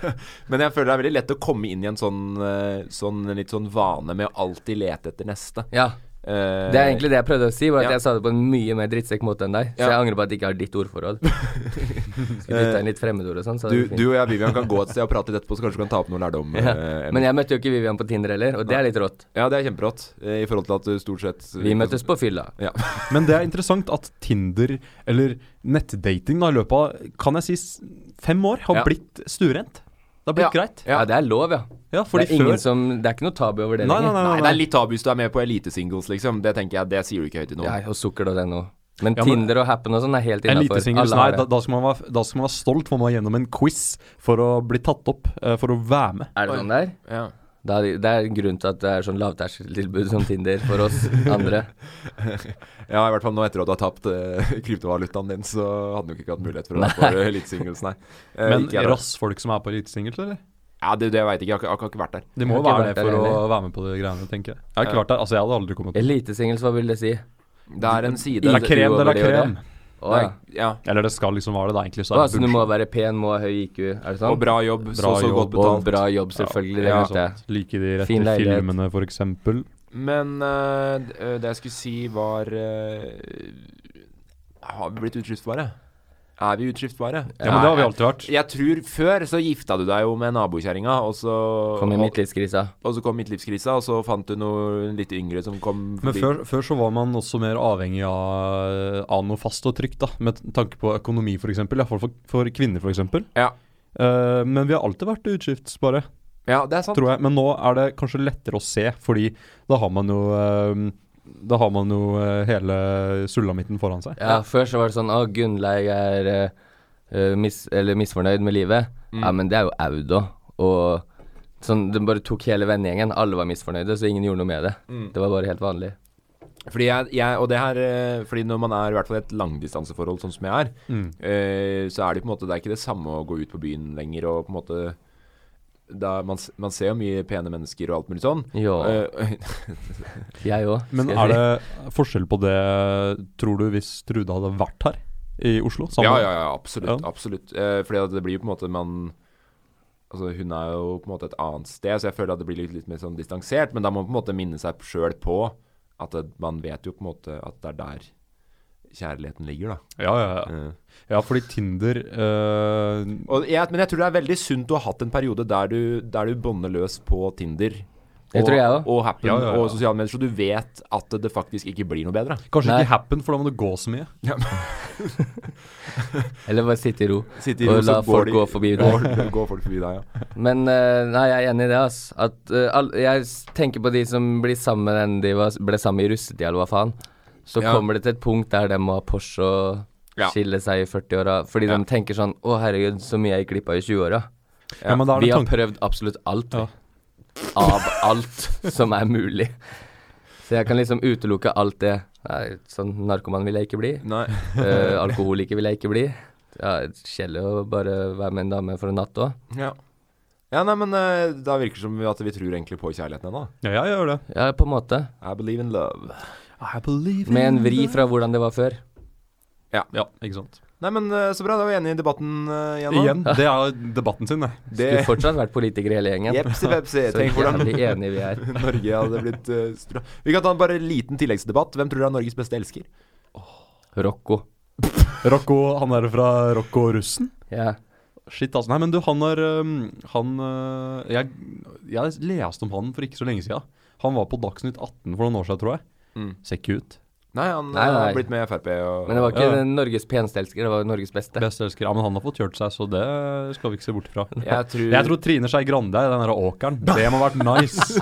D: Men jeg føler det er veldig lett å komme inn i en sånn, eh, sånn litt sånn vane med å alltid lete etter neste.
E: Ja.
D: Eh,
E: Det er egentlig det jeg prøvde å si, var at
D: Ja.
E: jeg sa det på en mye mer drittsekk måte enn deg. Så
D: Ja.
E: jeg angrer på at jeg ikke har ditt
F: [LAUGHS]
E: ordforråd. Skulle dytta inn litt fremmedord og sånn. Så
D: du,
E: hadde det vært fint.
D: du og jeg, Vivian, kan gå et sted og prate litt etterpå, så kanskje du kan ta opp noe lærdom.
E: ja.
D: eh,
E: Men jeg møtte jo ikke Vivian på Tinder heller, og det er litt rått.
D: ja, det er kjemperått. eh, I forhold til at du stort sett eh,
E: Vi møttes på fylla.
D: Ja.
F: Men det er interessant at Tinder, eller nettdating da, i løpet av kan jeg si s- fem år, har
D: Ja.
F: blitt stuerent. Det har blitt greit.
E: Ja, det er lov, ja.
F: Ja, fordi
E: det, er ingen
F: før-
E: som, det er ikke noe tabu over det
F: Nei, nei, nei.
D: Nei, det er litt tabu hvis du er med på elitesingles, liksom. Det tenker jeg, det sier du ikke høyt til noen.
E: Ja, og sukker og det nå. Men
F: Ja, men-
E: Tinder og Happen og sånn er helt innafor.
F: Elitesingles, nei, da, da, skal man være, da skal man være stolt, for man var gjennom en quiz for å bli tatt opp, eh, for å være med.
E: Er det sånn der?
D: Ja. [LAUGHS]
E: Da er det det er grunnen til at det er sånn lavterskeltilbud som Tinder for oss andre.
D: [LAUGHS] Ja, i hvert fall nå etter at du har tapt eh, kryptovalutaen din, så hadde du ikke hatt mulighet for å være på elitesingles,
E: [LAUGHS]
D: nei. Eh,
F: Men
D: ikke jeg, da.
F: rassfolk som er på elitesingles, eller?
D: Ja, det, det veit jeg ikke. Jeg har, ikke- jeg har ikke vært der.
F: De må
E: Jeg
F: jo
E: har ikke
F: være
E: vært
F: det
E: der
F: for å
E: heller.
F: være med på de greiene, tenker jeg. Jeg har ikke vært der, altså jeg hadde aldri kommet opp.
E: Elitesingles, hva vil det si?
D: Det er en side
F: Det er krem, det
E: over
F: er
E: det
F: krem.
E: Å,
D: Det
E: ja.
D: er- ja.
F: Eller det skal liksom være det, da, egentlig. Så
E: Å,
F: er
E: altså,
F: det
E: du må
F: bullshit.
E: være pen, må ha høy IQ, er det
D: Og
E: sant?
D: bra jobb. så
F: Bra
D: så
F: jobb,
D: godt
E: Sånn. Og
D: betalt.
E: bra jobb, selvfølgelig.
D: Ja.
E: det vet jeg.
F: Like de rette
E: Fin leilighet.
F: filmene, for eksempel.
D: Men eh, d- eh, det jeg skulle si, var eh, Har vi blitt utskiftbare? Er vi utskiftbare?
F: Ja, men det har vi alltid vært.
D: Jeg tror før så gifta du deg jo med nabokjerringa, og så
E: Kom i midtlivskrisa.
D: Og så kom midtlivskrisa, og så fant du noe litt yngre som kom
F: Men
D: forbi.
F: før, før så var man også mer avhengig av, av noe fast og trygt, da, med tanke på økonomi f.eks. Ja, for, for, for kvinner f.eks.
D: Ja.
F: men vi har alltid vært utskiftsbare,
D: Ja, det er sant.
F: tror jeg. Men nå er det kanskje lettere å se, fordi da har man jo eh, Da har man jo eh, hele sulamitten foran seg.
E: Ja, før så var det sånn Å, Gunnleig er eh, eh, mis eller misfornøyd med livet. Ja,
D: Mm.
E: men det er jo Audo. Og sånn, det bare tok hele vennegjengen. Alle var misfornøyde, så ingen gjorde noe med det.
D: Mm.
E: Det var bare helt vanlig.
D: Fordi jeg, jeg Og det her eh, Fordi når man er i hvert fall i et langdistanseforhold, sånn som jeg er,
F: Mm.
D: eh, så er det på en måte Det er ikke det samme å gå ut på byen lenger og på en måte da, man, s- man ser jo mye pene mennesker og alt mulig sånn.
E: Ja.
D: Eh,
E: Jeg òg.
F: Men er det forskjell på det, tror du, hvis Trude hadde vært her i Oslo? sammen?
D: Ja, ja, ja, absolutt.
F: Ja.
D: absolutt. Eh, fordi at det blir jo på en måte man Altså Hun er jo på en måte et annet sted, så jeg føler at det blir litt, litt mer sånn distansert. Men da må man på en måte minne seg sjøl på at det, man vet jo på en måte at det er der kjærligheten ligger, da. Eh,
F: Ja, ja, ja. ja fordi Tinder eh,
D: Og jeg, men jeg tror det er veldig sunt å ha hatt en periode der du, der du bånder løs på Tinder.
E: Det
D: og,
E: tror jeg også.
D: Og Happen
F: Ja, ja, ja.
D: og sosiale medier, så du vet at det faktisk ikke blir noe bedre.
F: Kanskje
E: Nei.
F: ikke happen, for da må du gå så mye.
E: Eller bare sitte i ro.
D: Sitte i
E: og
D: ro, så
E: la
D: går
E: folk
D: de-
E: gå forbi deg.
D: Går, [LAUGHS] går folk forbi deg, ja.
E: Men eh, nei, jeg er enig i det, ass. At, eh, all, jeg s- tenker på de som blir sammen med den de var, ble sammen i russetida, eller hva faen. Så
D: Ja.
E: kommer det til et punkt der de må ha Porsche og
D: Ja.
E: skille seg i 40-åra. Fordi
D: Ja.
E: de tenker sånn Å, herregud, så mye jeg glippa i 20-åra.
F: Ja, men da er
E: Vi
F: det
E: har
F: tanke-
E: prøvd absolutt alt. vi.
F: Ja.
E: Av alt som er mulig. Så jeg kan liksom utelukke alt det. Nei, sånn narkoman vil jeg ikke bli.
D: Nei.
E: Eh, alkoholiker vil jeg ikke bli. Ja, Kjedelig å bare være med en dame for en natt òg.
D: Ja. ja, nei, men eh, da virker det som at vi tror egentlig på kjærligheten ennå.
F: Ja, jeg gjør det.
E: Ja, på en måte.
D: I believe in love.
F: I believe
E: Med en vri fra hvordan det var før.
D: Ja.
F: Ja, ikke sant.
D: Nei, men eh, så bra. Da var vi enige i debatten eh, igjen. da.
F: Igjen. Det er debatten sin, det.
D: Det,
E: Skulle fortsatt vært politikere hele gjengen.
D: Jepsi pepsi.
E: [LAUGHS] Så
D: Tenk hvordan
E: jævlig enige vi er.
D: [LAUGHS] Norge hadde blitt eh, stra... Vi kan ta en bare liten tilleggsdebatt. Hvem tror dere er Norges beste elsker?
E: Rocco.
F: Rocco, han er fra Rocco Russen.
E: Ja.
F: Shit, altså. Nei, men du, han er øhm, Han øh, jeg, jeg leste om han for ikke så lenge siden. Han var på Dagsnytt 18 for noen år siden, tror jeg. Ser ikke ut.
D: Nei, han eh,
E: Nei, nei.
D: har blitt med i Frp og
E: Men det var ikke
F: Ja.
E: den Norges peneste elsker, det var Norges beste.
F: Best elsker. Ja, men han har fått kjørt seg, så det skal vi ikke se bort fra.
D: Jeg tror,
F: Jeg tror Trine Skei Grande er den derre [LAUGHS] åkeren. Det må ha vært nice.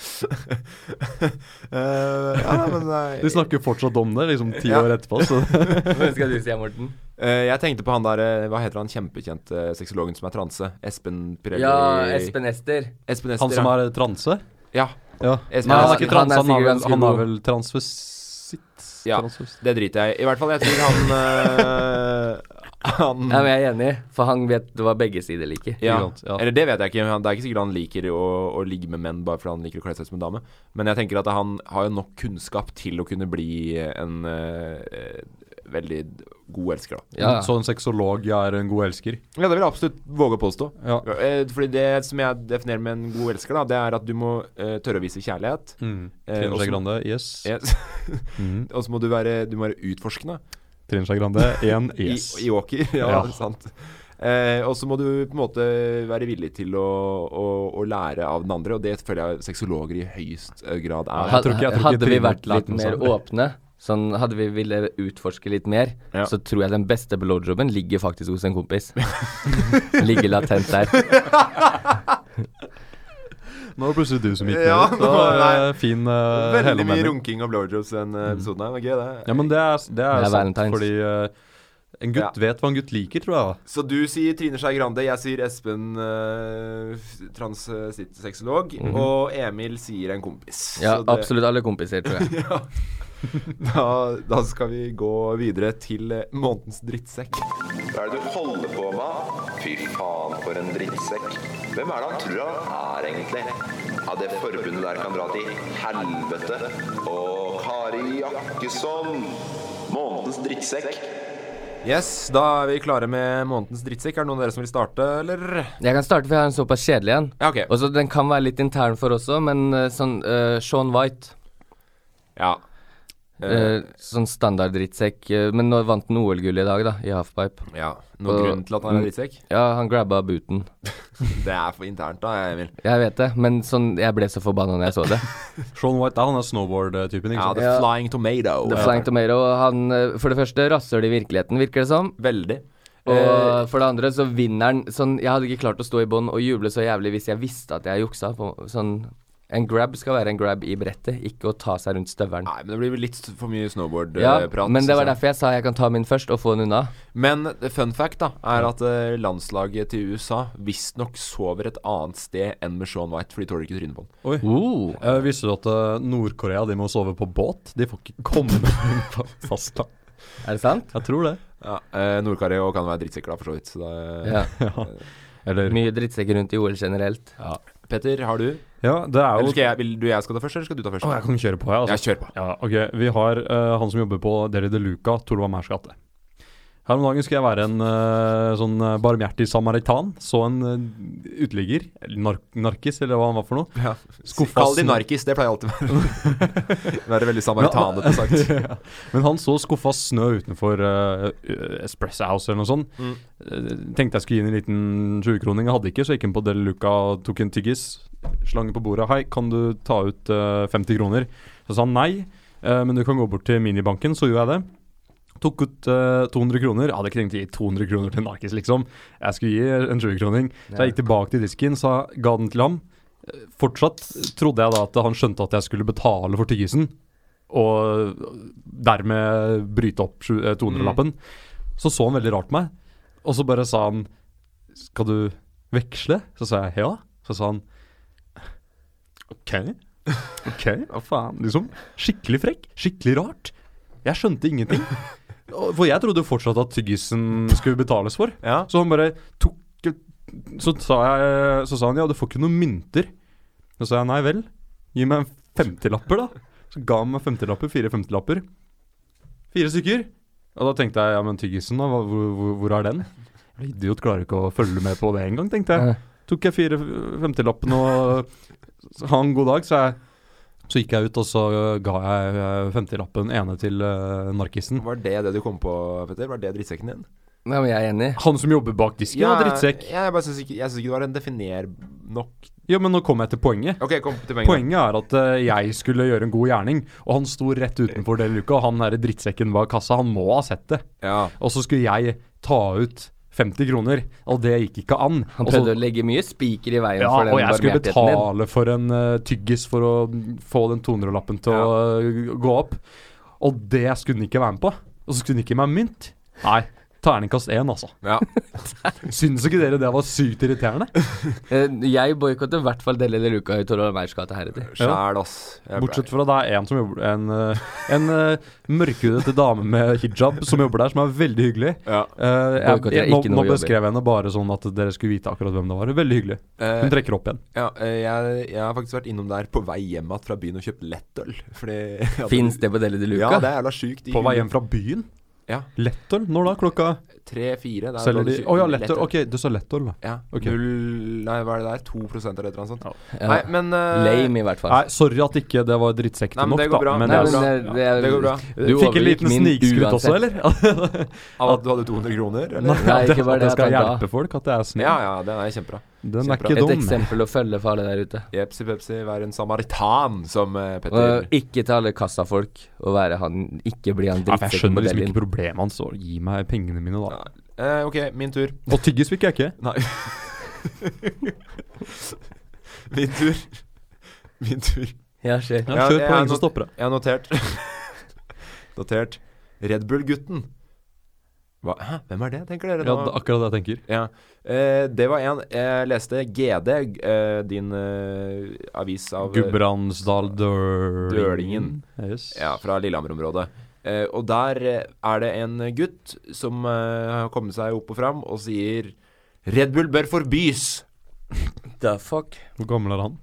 D: [LAUGHS] Eh, ja, men
E: [LAUGHS]
D: nei.
F: De snakker fortsatt om det, liksom ti
D: Ja.
F: år etterpå. [LAUGHS] Så.
E: Hva skal du si, Morten?
D: Eh, jeg tenkte på han der eh, Hva heter han kjempekjente uh, sexologen som er transe? Espen Pirelli
E: Ja, Espen Ester.
D: Espen Ester,
F: Han som
D: ja.
F: er transe?
D: Ja.
F: Ja.
D: Espen
F: Nei,
D: Ester.
F: han er ikke
E: Han er
F: transe, han
E: sikkert
F: er vel,
E: ganske
F: han
E: god.
F: er vel transvestitt.
D: Ja.
F: Transvestitt.
D: Det driter jeg i. I hvert fall, jeg tror [LAUGHS] han eh, Han
E: Ja, men jeg er enig, for han vet hva begge sider liker.
D: ja.
F: Ikke sant, ja.
D: Eller det vet jeg ikke. men han- Det er ikke sikkert han liker å, å ligge med menn bare fordi han liker å kle seg som en dame. Men jeg tenker at han har jo nok kunnskap til å kunne bli en eh, veldig god elsker, da.
E: Ja.
F: Så en sexolog er en god elsker?
D: Ja, det vil jeg absolutt våge å påstå.
F: Ja.
D: Eh, Fordi det som jeg definerer med en god elsker, da, det er at du må eh, tørre å vise kjærlighet. Eh,
F: Mm. Trine
D: også-
F: Skei Grande, yes.
D: Yes. [LAUGHS] Og så må du være, du må være utforskende
F: Trine Skei [LAUGHS] Grande, én yes.
D: i, i åker. [LAUGHS] Ja,
F: Ja.
D: sant. Eh, og så må du på en måte være villig til å, å, å lære av den andre, og det føler jeg sexologer i høyest eh, grad
F: Ja,
D: er.
F: jeg tror ikke- jeg tror ikke
E: hadde vi
F: Trine
E: vært
F: lærte
E: litt
F: noe
E: mer
F: sånt.
E: åpne, sånn hadde vi ville utforske litt mer,
D: Ja.
E: så tror jeg den beste blowjobben ligger faktisk hos en
F: [LAUGHS]
E: kompis. ligger latent der.
F: Nå var det plutselig du som gikk ned.
D: Ja,
F: så,
D: nå var- nei.
F: eh, fin eh,
D: Veldig mye
F: helomvending.
D: runking og blowjobs i denne episoden her. Det var gøy, det.
F: Ja, men det er, det er,
E: Det er
F: sant,
E: Valentine's.
F: fordi eh, en gutt
D: Ja.
F: vet hva en gutt liker, tror jeg.
D: Så du sier Trine Skei Grande, jeg sier Espen uh, transsexolog, og Emil sier en kompis.
E: Ja,
D: Så det-
E: absolutt alle kompiser, tror jeg.
D: [LAUGHS] Da, da skal vi gå videre til eh, månedens drittsekk.
B: Hva er det du holder på med? Fy faen, for en drittsekk. Hvem er det han tror han er, egentlig? Ja, det forbundet der kan dra til helvete. Og Kari Jakkesson, månedens drittsekk.
D: Yes, da er vi klare med månedens drittsekk. Er det noen av dere som vil starte, eller?
E: Jeg kan starte, for jeg har en såpass kjedelig en.
D: Ja, ok.
E: Og så Den kan være litt intern for også, men eh, sånn eh, Sean White.
D: Ja.
E: eh, sånn standard drittsekk. eh, men nå vant han OL-gull i dag, da, i halfpipe.
D: ja. Noen
E: Og-
D: grunn til at han er drittsekk?
E: Ja, han grabba booten.
D: Det er for internt, da, Emil.
E: Jeg vet det, men sånn Jeg ble så forbanna når jeg
D: [LAUGHS]
E: så det.
F: Sean White er han er snowboard-typen, ikke
D: Ja,
F: sant?
D: The Flying Tomato.
E: The Flying Tomato, han eh, For det første rasser det i virkeligheten, virker det som.
D: Veldig. Eh,
E: Og for det andre, så vinner han sånn Jeg hadde ikke klart å stå i bånn og juble så jævlig hvis jeg visste at jeg juksa. På, sånn En grab skal være en grab i brettet, ikke å ta seg rundt støvelen.
D: nei, men det blir vel litt for mye eh,
E: Ja,
D: snowboard-prat.
E: men det var derfor jeg sa jeg kan ta min først og få den unna.
D: Men eh, fun fact da er at eh, landslaget til USA visstnok sover et annet sted enn med Sean White, for de tåler ikke trynet på han.
F: Oi. Eh, visste du at eh, Nord-Korea de må sove på båt? De får ikke komme inn på fastland.
E: Er det sant?
F: Jeg tror det.
D: Ja, eh, Nord-Korea også kan være drittsekker, da, eh, for så vidt. Så det,
E: Ja.
F: Eller
E: Mye drittsekker rundt i OL generelt.
D: Petter, har du?
F: Ja, det er
D: Eller
F: jo
D: skal jeg, vil du jeg skal ta først, eller skal du ta først?
F: Å, jeg kan kjøre på, jeg. Altså.
D: Ja, kjør på.
F: Ja, ok. Vi har eh, han som jobber på Deli de Luca, Torva Mærs gate. Her om dagen skulle jeg være en eh, sånn eh, barmhjertig samaritan. Så en eh, uteligger, eller nar narkis, eller hva han var for noe. [LAUGHS]
D: Ja.
F: Skuffa
D: Kall de
F: sn-
D: narkis, det pleier alltid å være
F: [LAUGHS]
D: Være veldig samaritanete sagt.
F: Ja. Men han så skuffa snø utenfor eh, eh, Espresso House eller noe sånt. Eh, tenkte jeg skulle gi inn en liten 20-kroning, jeg hadde ikke, så jeg gikk inn på Del Luca og tok en tyggis. Slange på bordet. 'Hei, kan du ta ut eh, 50 kroner?' Så sa han nei, eh, men du kan gå bort til minibanken. Så gjorde jeg det. Tok ut eh, 200 kroner. Jeg hadde ikke tenkt å gi 200 kroner til Narkis, liksom. Jeg skulle gi en 20-kroning. Så jeg gikk tilbake til disken, sa, ga den til ham. Eh, Fortsatt trodde jeg da at han skjønte at jeg skulle betale for tyggisen, og dermed bryte opp sju- eh, 200-lappen. Så så han veldig rart på meg, og så bare sa han Skal du veksle? Så sa jeg ja. Så sa han OK. OK, hva faen? Liksom. Skikkelig frekk. Skikkelig rart. Jeg skjønte ingenting. Og- For jeg trodde jo fortsatt at tyggisen skulle betales for.
D: Ja.
F: Så han bare tok Så sa, jeg, så sa han ja, du får ikke noen mynter. Så sa jeg nei vel, gi meg en femtilapper, da. Så ga han meg femtilapper, fire femtilapper. Fire stykker. Og da tenkte jeg ja, men tyggisen, da, hva- hvor, hvor, hvor er den? Jævla Idiot klarer ikke å følge med på det engang, tenkte jeg.
E: Nei.
F: Tok jeg fire femtilappene og [LAUGHS] ha en god dag, sa jeg. Så gikk jeg ut, og så øh, ga jeg øh, femtilappen ene til øh, narkisen.
D: Var det det du kom på, Petter? Var det drittsekken din?
E: Nei, men jeg er enig.
F: Han som jobber bak disken, ja, drittsekk.
D: Ja, jeg bare syns ikke, jeg synes ikke det var en definer nok
F: Ja, men nå kom jeg til poenget.
D: Ok, kom til poenget.
F: Poenget er at eh, jeg skulle gjøre en god gjerning, og han sto rett utenfor det luka, og han derre drittsekken bak kassa, han må ha sett det.
D: Ja.
F: Og så skulle jeg ta ut 50 kroner, og det gikk ikke an.
E: Han
F: Og så-
E: prøvde å legge mye spiker i veien
F: ja,
E: for den
F: og jeg skulle
E: barmhjertigheten din.
F: betale for en eh, tyggis for å få den 200-lappen til å eh, gå opp. Og det skulle den ikke være med på. Og så skulle den ikke gi meg mynt. Nei, terningkast én, altså. [LAUGHS]
D: Ja.
F: Syns ikke dere det var sykt irriterende?
E: Eh, Jeg boikotter i hvert fall deler eller luka i Torvald Meyers gate heretter.
D: Sjæl, ass. Jeg-
F: Bortsett fra det er en som jobber En, eh, en eh, mørkhudet dame med hijab som jobber der, som er veldig hyggelig.
D: Ja.
F: Eh, jeg,
E: Boikotter
F: jeg,
E: er
F: nå,
E: ikke noe
F: nå
E: vi
F: beskrev jeg henne bare sånn at dere skulle vite akkurat hvem det var. Veldig hyggelig.
D: Eh,
F: Hun trekker opp igjen.
D: ja, eh, jeg, jeg har faktisk vært innom der på vei hjem igjen fra byen og kjøpt lettøl. Fordi jeg hadde-
E: Fins det på Deli de Luca?
D: [LAUGHS] Ja, det er jævla sjukt.
F: På vei hjem fra byen?
D: Ja.
F: Lettøl? Når da? Klokka
D: Tre-fire.
F: Selger de Å ja, lettøl. Ok, du sa lettøl, da.
D: Ja.
F: Ok.
D: Null Nei, hva er det der? 2 eller et eller annet sånt.
E: Ja.
D: Nei, men eh,
E: Lame, i hvert fall.
F: Nei, sorry at ikke det var drittsekk
D: Nei,
F: til
D: men
F: nok,
D: det går
F: da.
D: bra.
F: Men
E: Nei,
F: det
E: men eh,
F: er bra.
E: det, det,
D: Det går bra.
E: Du
F: Fikk en
E: overgikk
F: liten
E: min
F: snikskryt også,
E: uansett.
F: eller? Nei,
D: Av at du hadde 200 kroner, eller?
E: [LAUGHS] Nei,
F: [LAUGHS] det,
E: ikke bare
F: at jeg
E: det, at
F: skal
E: han da-
F: hjelpe folk, at jeg er snill.
D: Ja, ja, den er kjempebra.
F: Den
D: kjempebra.
F: er ikke
E: Et
F: dum.
E: eksempel å følge for alle der ute.
D: Jepsi pepsi, vær en samaritan, som eh, Petter
E: Og ikke til alle kassafolk å være han Ikke bli han
F: Ja, for jeg skjønner liksom
E: drittsekkmodellen.
F: ikke problemet hans. og Gi meg pengene mine, da.
D: Eh, Ok, min tur.
F: Og tyggis fikk jeg ikke.
D: Nei. min tur. Min tur.
E: Ja, skjer.
F: Ja, Kjør
D: jeg
F: poeng,
D: er
F: så
D: nok-
F: stopper det.
D: Jeg har notert. [LAUGHS] notert Red Bull-gutten. Hva? Hæ? Hvem er det, tenker dere?
F: Ja,
D: nå?
F: det er akkurat det jeg tenker.
D: Ja. Eh, det var en Jeg leste GD, eh, din eh, avis av
F: Gudbrandsdal Dølingen.
D: Dølingen.
F: Yes.
D: Ja, fra Lillehammer-området. Eh, og der eh, er det en gutt som eh, har kommet seg opp og fram og sier Red Bull bør forbys!
E: The fuck?
F: Hvor gammel er han?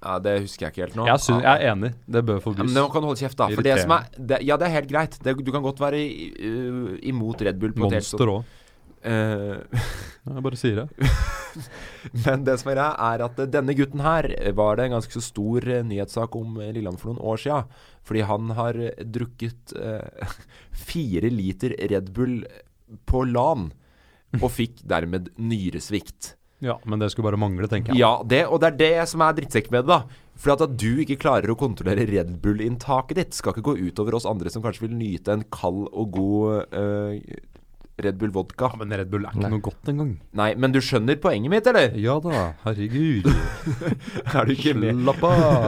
D: Ja, det husker jeg ikke helt nå.
F: Jeg, synes,
D: Ja.
F: jeg er enig. Det
D: Ja,
F: bør
D: men
F: forbys.
D: nå kan du holde kjeft, da. For det som er det, Ja, det er helt greit. Det, du kan godt være i- uh, imot Red Bull på et helt sånt-
F: Monster òg.
D: Eh, [LAUGHS]
F: Jeg bare sier det.
D: Men det som er greia, er at eh, denne gutten her eh, var det en ganske så stor eh, nyhetssak om eh, Lillehammer for noen år sia. Fordi han har eh, drukket eh, [LAUGHS] fire liter Red Bull på LAN. Og fikk dermed nyresvikt.
F: Ja, men det skulle bare mangle, tenker jeg.
D: Ja, det, og det er det som er drittsekk med det, da. Fordi at, at du ikke klarer å kontrollere Red Bull-inntaket ditt, skal ikke gå utover oss andre som kanskje vil nyte en kald og god eh, Red Bull vodka.
F: Men Red Bull er ikke noe godt engang.
D: Nei, men du skjønner poenget mitt, eller?
F: Ja da, [LAUGHS] herregud.
D: Er du ikke med? [LAUGHS]
F: Slapp av.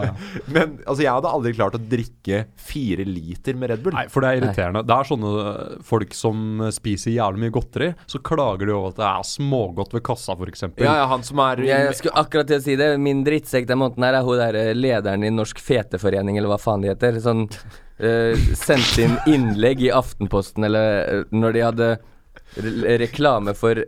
D: Men altså, jeg hadde aldri klart å drikke fire liter med Red Bull.
F: Nei, for det er irriterende. Det er sånne øh, folk som øh, spiser jævlig mye godteri, så klager de over at det er smågodt ved kassa, f.eks.
D: Ja, ja, han som er
E: Jeg skulle akkurat til å si det. Min drittsekk den måneden her er hun der eh, lederen i Norsk feteforening, eller hva faen de heter. Sånn eh, Sendte inn innlegg i Aftenposten, eller eh, når de hadde re reklame for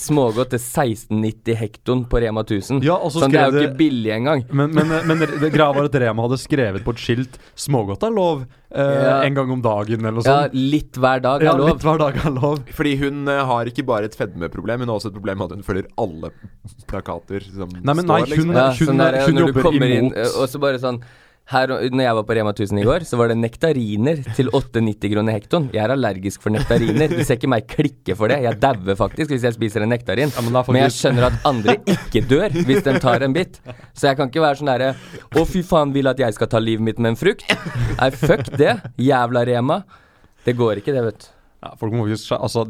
E: smågodt til 1690 hekton på Rema 1000.
F: Ja, og så
E: sånn, det er
F: skrev
E: jo
F: de-
E: ikke billig engang.
F: Men, men, øh, men det greia var at Rema hadde skrevet på et skilt 'smågodt er lov' øh,
E: Ja.
F: en gang om dagen, eller noe
E: Ja,
F: sånt.
E: litt hver dag
F: Sånn- Ja,
E: er
F: litt
E: lov.
F: hver dag er lov.
D: Fordi hun eh, har ikke bare et fedmeproblem, hun har også et problem med at hun følger alle [LAUGHS] plakater som
F: Nei, men nei,
D: står. liksom.
F: hun,
E: Ja,
F: hun,
E: sånn der,
F: hun
E: når du
F: jobber
E: kommer
F: imot.
E: inn, eh, og så bare sånn her, og- når jeg var på Rema 1000 i går, så var det nektariner til 8,90 kroner hekton. Jeg er allergisk for nektariner. Du ser ikke meg klikke for det. Jeg dauer faktisk hvis jeg spiser en nektarin.
F: men
E: men,
F: det er faktisk-
E: jeg skjønner at andre ikke dør hvis de tar en bit. Så jeg kan ikke være sånn derre Å, fy faen, vil at jeg skal ta livet mitt med en frukt? Nei, fuck det. Jævla Rema. Det går ikke, det, vet du.
F: Ja, folk må faktisk, skjer- altså,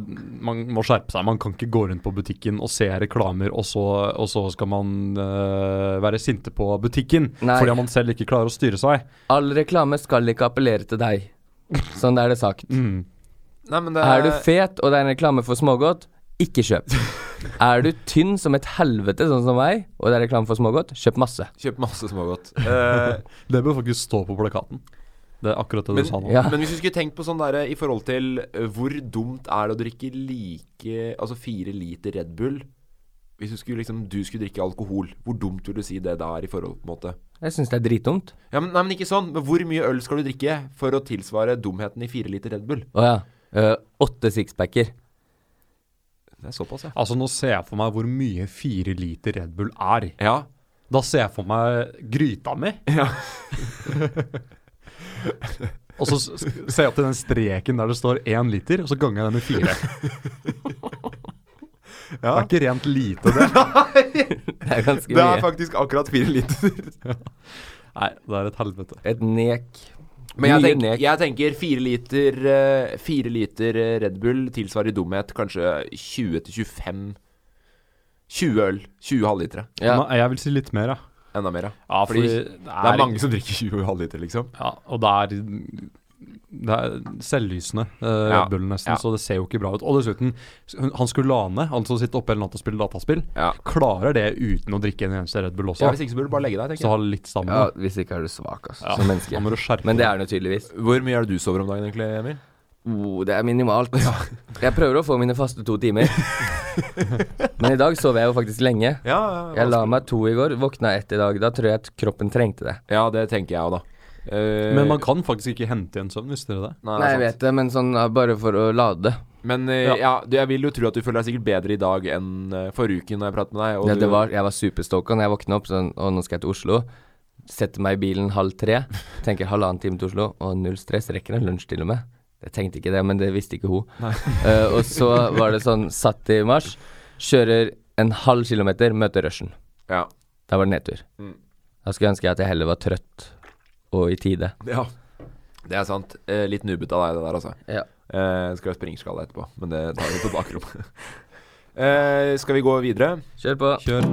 F: man må skjerpe seg. Man kan ikke gå rundt på butikken og se reklamer, og så, og så skal man øh, være sinte på butikken
E: Nei.
F: fordi man selv ikke klarer å styre seg.
E: All reklame skal ikke appellere til deg. Sånn er det sagt.
D: Nei, men det
E: Er du fet og det er en reklame for smågodt, ikke kjøp. er du tynn som et helvete, sånn som meg, og det er reklame for smågodt, kjøp masse.
D: Kjøp masse smågodt. Eh,
F: Det bør faktisk stå på plakaten. Det er akkurat det
D: men,
F: du sa nå.
E: Ja.
D: men hvis du skulle tenkt på sånn derre i forhold til eh, hvor dumt er det å drikke like Altså fire liter Red Bull Hvis du skulle, liksom, du skulle drikke alkohol, hvor dumt vil du si det da er i forhold på en måte?
E: Jeg syns det er dritdumt.
D: Ja, men, nei, men ikke sånn. Men hvor mye øl skal du drikke for å tilsvare dumheten i fire liter Red Bull?
E: Å ja. Eh, åtte sixpacker.
D: Det er såpass, ja.
F: Altså, nå ser jeg for meg hvor mye fire liter Red Bull er.
D: Ja.
F: Da ser jeg for meg gryta mi. [LAUGHS] og så s- ser jeg opp til den streken der det står én liter, og så ganger jeg den med fire.
D: [LAUGHS]
F: Det er ikke rent lite, det.
E: Det er ganske
D: Det er
E: mye.
D: faktisk akkurat fire liter.
F: Nei, det er et helvete.
E: Et nek.
D: [LAUGHS] Men jeg
E: Mye
D: tenker,
E: nek.
D: jeg tenker fire liter, eh, fire liter eh, Red Bull tilsvarer i dumhet kanskje 20-25 20 øl. 20 halvlitere.
E: Ja.
F: Nei, jeg vil si litt mer, ja.
D: Enda mer, ja.
F: Ja,
D: fordi
F: det
D: Det er mange som drikker 20 halvliter, liksom.
F: Ja, og det er det er selvlysende, eh,
D: Ja,
F: Red Bull nesten,
D: ja.
F: så det ser jo ikke bra ut. Og dessuten, s- hun- han skulle lane, han som sitter oppe hele natta og spiller dataspill,
D: Ja.
F: klarer det uten å drikke en eneste Red Bull også.
D: Ja, hvis ikke så burde du bare legge deg, tenker
F: så
D: jeg.
F: ha litt stamina.
E: Ja, hvis ikke er du svak, altså, som menneske.
F: Da må du skjerpe
E: Men det
F: deg.
E: er det jo tydeligvis.
D: Hvor mye er det du sover om dagen egentlig, Emil?
E: Oh, det er minimalt. Jeg prøver å få mine faste
D: [LAUGHS]
E: to timer. Men i dag sov jeg jo faktisk lenge.
D: Ja,
E: Jeg la meg to i går, våkna ett i dag. Da tror jeg at kroppen trengte det.
D: ja det tenker jeg òg, da. Eh,
F: Men man kan faktisk ikke hente igjen søvn, visste dere det?
D: nei, det er
E: Nei, jeg
D: sant.
E: vet det, men sånn ah, bare for å lade.
D: Men eh, ja,
F: Ja.
D: du, jeg vil jo tro at du føler deg sikkert bedre i dag enn eh, forrige uke når jeg pratet med deg.
E: Ja,
D: du,
E: det var, jeg var superstoka når jeg våkna opp sånn Å, nå skal jeg til Oslo. Setter meg i bilen halv tre. Tenker halvannen time til Oslo, og null stress. Rekker en lunsj til og med. Jeg tenkte ikke det, men det visste ikke hun. [LAUGHS] Eh, og så var det sånn satt i mars. Kjører en halv kilometer, møter rushen.
D: Ja.
E: Da var det nedtur. Da skulle jeg ønske at jeg heller var trøtt og i tide.
D: ja. Det er sant. Eh, litt nubbete av deg, det der, altså.
E: Ja.
D: Eh, skal ha springskalle etterpå, men det tar vi på bakrommet. [LAUGHS] Eh, skal vi gå videre?
E: Kjør på.
F: Kjør.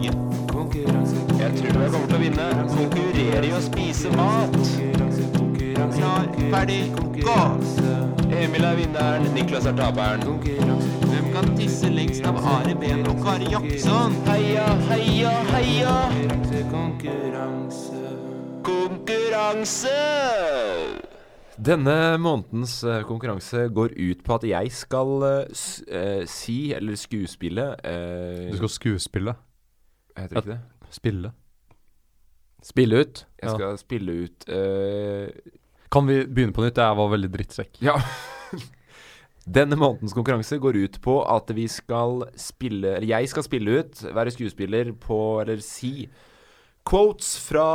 B: eh, Jeg tror jeg kommer til å vinne. Konkurrere i å spise mat. Klar, ferdig, gå! Emil er vinneren, Niklas er taperen. Hvem kan tisse lengst av Are Ben og Kari Jakkesson? Heia, heia, heia! Konkurranse. Konkurranse!
D: Denne månedens eh, konkurranse går ut på at jeg skal eh, s eh, si, eller skuespille eh,
F: Du skal skuespille.
D: Heter det ikke det?
F: Spille.
E: Spille ut.
D: Jeg skal spille ut eh,
F: Kan vi begynne på nytt? Jeg var veldig drittsekk.
D: Ja. [LAUGHS] Denne månedens konkurranse går ut på at vi skal spille Eller jeg skal spille ut, være skuespiller på Eller si quotes fra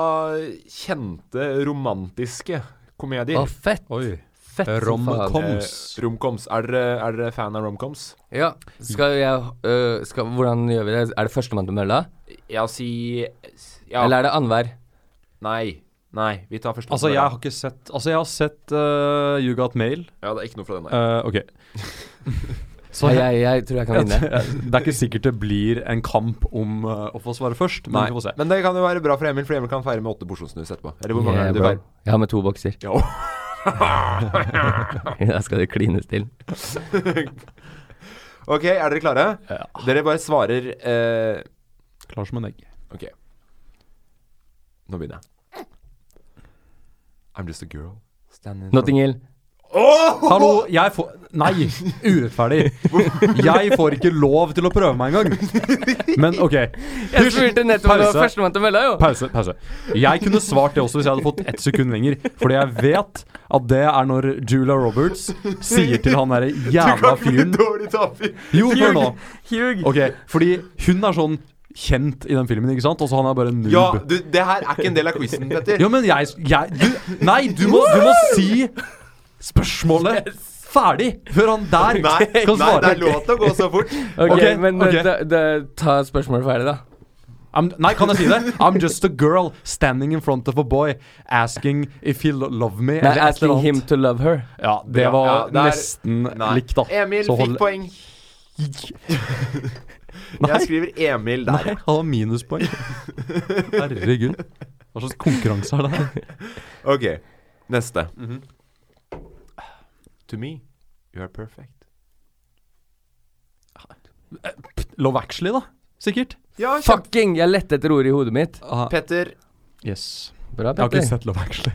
D: kjente romantiske komedier.
E: Å, fett.
F: Oi.
E: Fett som faen.
F: Romcoms.
D: Eh, romcoms. Er dere er dere fan av romcoms?
E: Ja. Skal jeg øh, skal, Hvordan gjør vi det? Er det førstemann til mølla?
D: Ja, si Ja.
E: Eller er det annenhver?
D: Nei. Nei, vi tar første.
F: Altså, jeg har ikke sett Altså, jeg har sett eh, You Got Mail.
D: Ja, det er ikke noe fra den der.
F: Eh, OK. Så
E: Nei, jeg, jeg tror jeg kan vinne.
F: Det er ikke sikkert det blir en kamp om eh, å få svare først, men
D: Nei.
F: vi får se.
D: Men det kan jo være bra for Emil, for Emil kan feire med åtte porsjonssnus etterpå. Eller hvor mange
E: Yeah,
D: er det du
E: bro.
D: feirer?
E: Eh, Jeg har med to bokser.
D: Ja.
E: [LAUGHS] Da skal det klines til.
D: Ok, er dere klare?
F: Ja.
D: Dere bare svarer eh,
F: Klar som en egg.
D: Ok. Nå begynner jeg. I'm just a girl. Standing
E: Notting Hill.
F: Hallo, jeg får Nei, urettferdig. Jeg får ikke lov til å prøve meg engang. Men OK.
E: Jeg spurte nettopp om det var førstemann til mølla, jo!
F: Pause, pause. Jeg kunne svart det også hvis jeg hadde fått ett sekund lenger. Fordi jeg vet at det er når Julia Roberts sier til han derre jævla fyren
D: [LAUGHS] Dårlig taper.
F: Jo, hør nå.
E: Hugh.
F: Ok, fordi hun er sånn kjent i den filmen, ikke sant? Og så han er bare en noob.
D: Ja, du, det her er ikke en del av
F: [LAUGHS]
D: quizen, Petter.
F: Ja, men jeg, jeg du, Nei, du må, du må si spørsmålet ferdig før han
D: Nei,
F: der kan
D: nei,
F: svare.
D: det er lov til å gå så
F: [LAUGHS]
D: fort.
E: Ok,
F: Ok,
E: men
F: ok.
E: Da, da, ta spørsmålet ferdig, da.
F: I'm, nei, kan jeg si det? I'm just a girl standing in front of a boy asking if he lo- love me.
E: Nei,
F: eller et eller
E: asking him
F: annet.
E: to love her.
F: Ja, det
D: Bra,
F: var
D: ja, det er-
F: nesten
D: Nei.
F: likt, da.
D: Emil
F: Så hold-
D: fikk
F: [LAUGHS]
D: poeng. Jeg skriver Emil der.
F: Nei, han har
D: [LAUGHS]
F: minuspoeng. Herregud. Hva slags konkurranse er det
D: [LAUGHS]
F: her?
D: Ok, neste. To me, you are perfect.
F: Love Actually, da. Sikkert.
D: Ja,
E: Fucking! Jeg lette etter ordet i hodet mitt.
F: Ah,
D: Petter.
F: yes.
E: Bra,
F: Jeg har ikke
E: Petter.
F: sett Love Actually.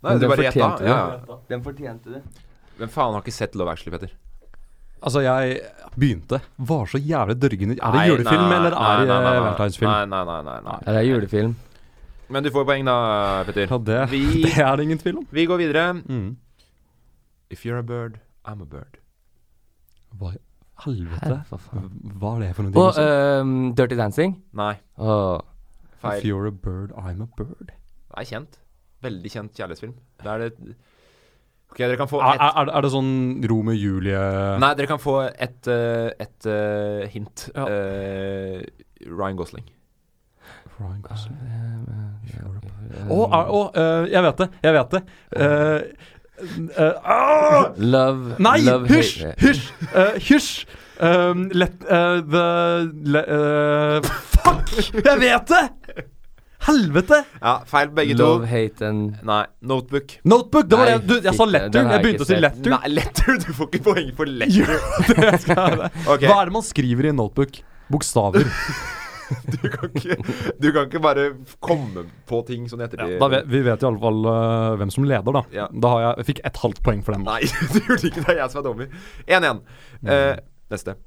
D: Nei,
E: Men
D: du
E: den
D: bare gjetta.
E: fortjente det.
D: Ja. ja.
E: Den fortjente det.
D: Hvem faen har ikke sett Love Actually, Petter?
F: Altså, jeg begynte Var så jævlig dørgende Er det
D: Nei,
F: julefilm,
D: nei,
F: eller
D: nei,
F: er det
D: nei, nei, nei.
F: valentinesfilm?
D: Nei, nei, nei, nei, nei.
E: Er det julefilm?
D: Men du får poeng, da, Petter.
F: Ja, det,
D: Vi-
F: [LAUGHS] det er det ingen tvil om.
D: Vi går videre.
F: Mm.
D: If you're a bird, I'm a bird.
F: Hva i helvete?
E: Hva faen?
F: Hva er det for noe?
E: Og
D: eh,
F: dinosaur?
E: ehm, Dirty Dancing.
D: Nei,
E: Åh.
F: If
D: feil.
F: you're a bird, I'm a bird.
D: Det er kjent. Veldig kjent kjærlighetsfilm. Det er det Ok, dere kan få
F: Er,
D: ett
F: er, er det sånn Romeo og Julie
D: Nei, dere kan få et, eh, et eh, hint.
F: Ja.
D: Eh, Ryan Gosling.
F: Ryan
E: Ah,
F: Gosling.
E: Ehm,
F: Å, er- å, eh, jeg vet det. Jeg vet det. Eh, eh, ah!
E: Love
F: Nei!
E: love,
F: Hysj!
E: hate-
F: Hysj! Eh, Hysj! Um, let eh, the le, eh, Fuck! Jeg vet det! Helvete!
D: Ja, feil begge
E: Love,
D: to.
E: hate and
D: Nei. Notebook.
F: Notebook! Det var
E: Nei,
F: det. Du, jeg sa
E: fitte,
F: letter.
E: den har
F: Jeg
E: jeg
F: begynte
E: ikke
F: å si
E: sett.
F: letter. [LAUGHS]
D: Nei, letter! Du får ikke poeng for letter.
E: [LAUGHS]
D: Ok,
F: Hva er det man skriver i en notebook? Bokstaver.
D: du, kan ikke, du kan ikke bare komme på ting sånn etter
F: Da vet, vi vet i alle fall eh, hvem som leder, da.
D: Ja.
F: Da har jeg, jeg fikk et halvt poeng for den. da.
D: Nei, [LAUGHS] du gjorde ikke det. Det er jeg som er dommer. 1-1. Eh, neste.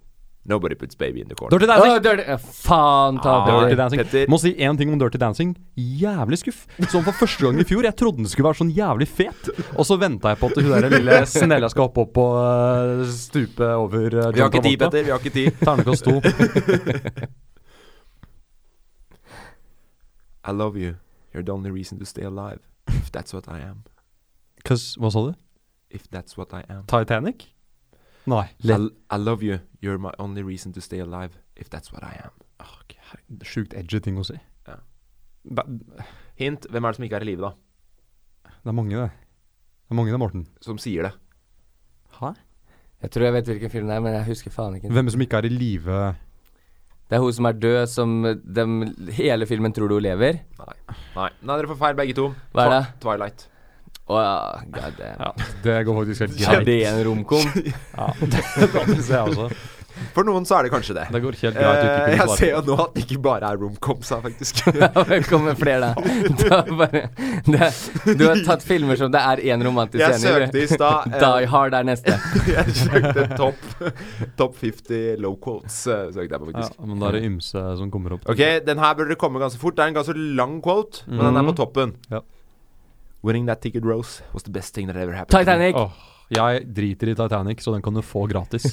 D: Nobody puts baby in the corner.
F: Dirty Dancing!
E: Åh, dirty eh, Faen ta
D: Ah,
E: Dirty
F: Dirty
E: Dancing.
F: Dancing.
D: Petter.
F: Må si én ting om Dirty Dancing. Jævlig skuff. Som for første gang i fjor. Jeg trodde den skulle være sånn jævlig fet. Og så venta jeg på at hun der lille snella skal hoppe opp og øh, stupe over øh,
D: Vi har
F: John
D: ikke tid,
F: Travolta.
D: Petter. Vi har ikke tid.
F: Ternekast to. [LAUGHS]
D: I love you. You're the only reason to stay alive. If that's what I am.
F: Cause- Hva sa du?
D: If that's what I am.
F: Titanic? Nei.
D: I, I love you. You're my only reason to stay alive. If that's what I am.
F: Åh, ok, herregud, Sjukt edgy ting å si.
D: Ja.
F: Det,
D: Hint. Hvem er det som ikke er i live, da?
F: det er mange, det. Det er mange, det, Morten.
D: Som sier det.
E: Jeg tror jeg vet hvilken film det er, men jeg husker faen ikke.
F: Hvem som ikke er i live
E: Det er hun som er død, som eh, dem, hele filmen tror du hun lever.
D: Nei. Nei, Nei dere får feil, begge to.
E: Hva er det?
D: Twi- Twilight.
E: Å ja, god damn.
F: Det går faktisk helt
E: Er
F: greit.
E: det en [LAUGHS] romkom?
F: Ja, det ser jeg også.
D: For noen så er det kanskje det.
F: Det går helt greit. å
D: Eh,
F: ikke kunne
D: jeg
F: svare.
D: ser jo nå at det ikke bare er romcoms her, faktisk.
E: Det kommer flere [LAUGHS] da. Det er bare, det er, du har tatt filmer som det er én romantisk
D: Jeg
E: scene
D: søkte i stad,
E: [LAUGHS]
D: eh,
E: Die Hard er neste.
D: [LAUGHS] jeg søkte topp top 50 low quotes. eh, Søkte jeg på,
F: Ja,
D: faktisk.
F: men da er det ymse som kommer opp.
D: Ok, den her burde komme ganske fort. Det er en ganske lang quote, men den er på toppen.
F: Mhm. Ja.
D: Winning that ticket rose was the best thing that ever happened.
E: Titanic!
F: Åh, jeg driter i Titanic, så den kan du få gratis.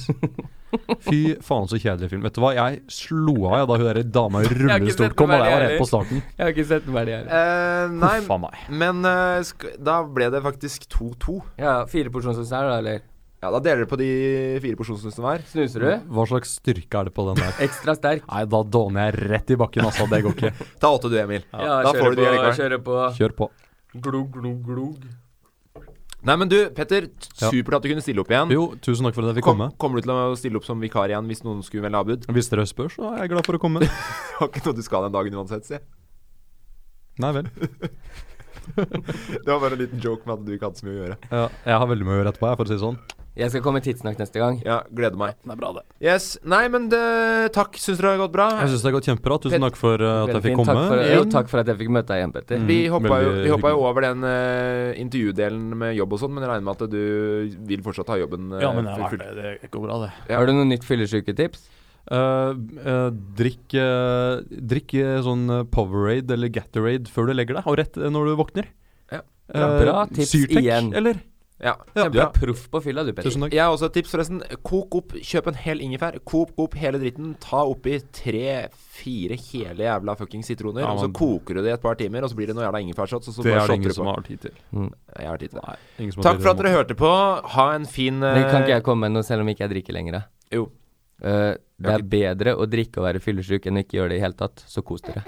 F: Fy faen, så kjedelig film. Vet du hva, jeg slo av jeg da hun der dama i
E: har ikke sett
F: rullestol
E: den
F: kom,
E: være
F: og det var
E: ærlig.
F: rett på starten.
E: Jeg har ikke sett den verdig her.
D: Eh, nei,
F: Huff a meg.
D: men eh, sk da ble det faktisk 2-2.
E: Ja, Fire porsjonssaus her, da, eller?
D: Ja, Da deler dere på de fire porsjonsnusene hver.
E: Snuser du?
F: Hva slags styrke er det på den der?
E: Ekstra sterk.
F: Nei, da dåner jeg rett i bakken, altså. Det går ikke.
D: Ta åtte du, Emil.
E: Ja,
D: da får
E: kjører
D: du de
E: på,
D: likevel.
E: kjører på.
F: Kjør på.
E: Glug, glug, glug.
D: Nei, men du, Petter.
F: Ja.
D: Supert at du kunne stille opp igjen.
F: Jo, tusen takk for at jeg fikk
D: Kom,
F: komme.
D: kommer du til å stille opp som vikar igjen hvis noen skulle melde avbud? [LAUGHS]
F: Hvis dere spør, så er jeg glad for å komme.
D: Det var ikke noe du skal den dagen uansett, si.
F: Nei vel.
D: Det var bare en liten joke med at du ikke hadde så mye å gjøre.
F: Ja, jeg har veldig mye å gjøre etterpå, jeg, for å si det sånn.
E: Jeg skal komme tidsnok neste gang.
D: Ja, gleder meg. Det er bra, det. Yes. Nei, men det, takk. Syns dere det har gått bra?
F: Jeg syns det har gått kjempebra.
D: Pet-
F: Tusen takk for uh, at jeg fikk
E: Veldig fint.
F: komme. Mm.
E: Takk for,
D: Igjen.
E: jo, takk for at jeg fikk møte deg igjen, Petter.
D: Vi hoppa jo,
F: veldig
D: vi hoppa jo
F: hyggelig.
D: over den eh, intervjudelen med jobb og sånn, men jeg regner med at du vil fortsatt ha jobben. eh, for fullt.
F: det. Det går bra, det.
D: Ja.
E: Har du noen nytt fyllesyketips?
F: Eh, eh, drikk eh, drikk eh, sånn eh, Powerade eller Gatorade før du legger deg, og rett eh, når du våkner.
D: Ja.
F: Eh,
E: Bra tips
F: Syrtec,
E: igjen.
F: eller?
D: Ja.
F: Ja,
E: Du
F: ja.
E: er proff på fylla, du, Petter.
F: Tusen takk.
D: Jeg har også et tips, forresten. Kok opp, Kjøp en hel ingefær. Kok opp hele dritten. Ta oppi tre-fire hele jævla fuckings sitroner.
F: Ja,
D: og så
F: men-
D: koker du det i et par timer, og så blir det noe jævla ingefærshots. Og så
F: Det
D: bare
F: er det
D: shotter
F: ingen
D: du
F: som
D: på.
F: har tid til.
D: Jeg har tid til det.
F: Ingen som har
D: Takk
F: tid
D: for at
F: til
D: dere hørte på. Ha en fin
E: Men kan ikke
D: eh,
E: jeg komme med noe selv om ikke jeg drikker lenger? da?
D: Jo.
E: Eh, det
D: har
E: er bedre å drikke og være fyllesyk enn å ikke gjøre det i hele tatt. Så kos dere.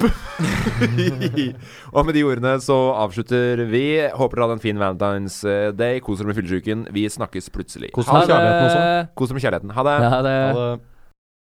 D: og med de ordene så avslutter vi. Håper dere hadde en fin Valentine's Day. Kos dere med fyllesyken. Vi snakkes plutselig.
F: Kos dere med kjærligheten også.
D: Kos dere med kjærligheten. Ha det.
E: Ha det.
F: Ha det.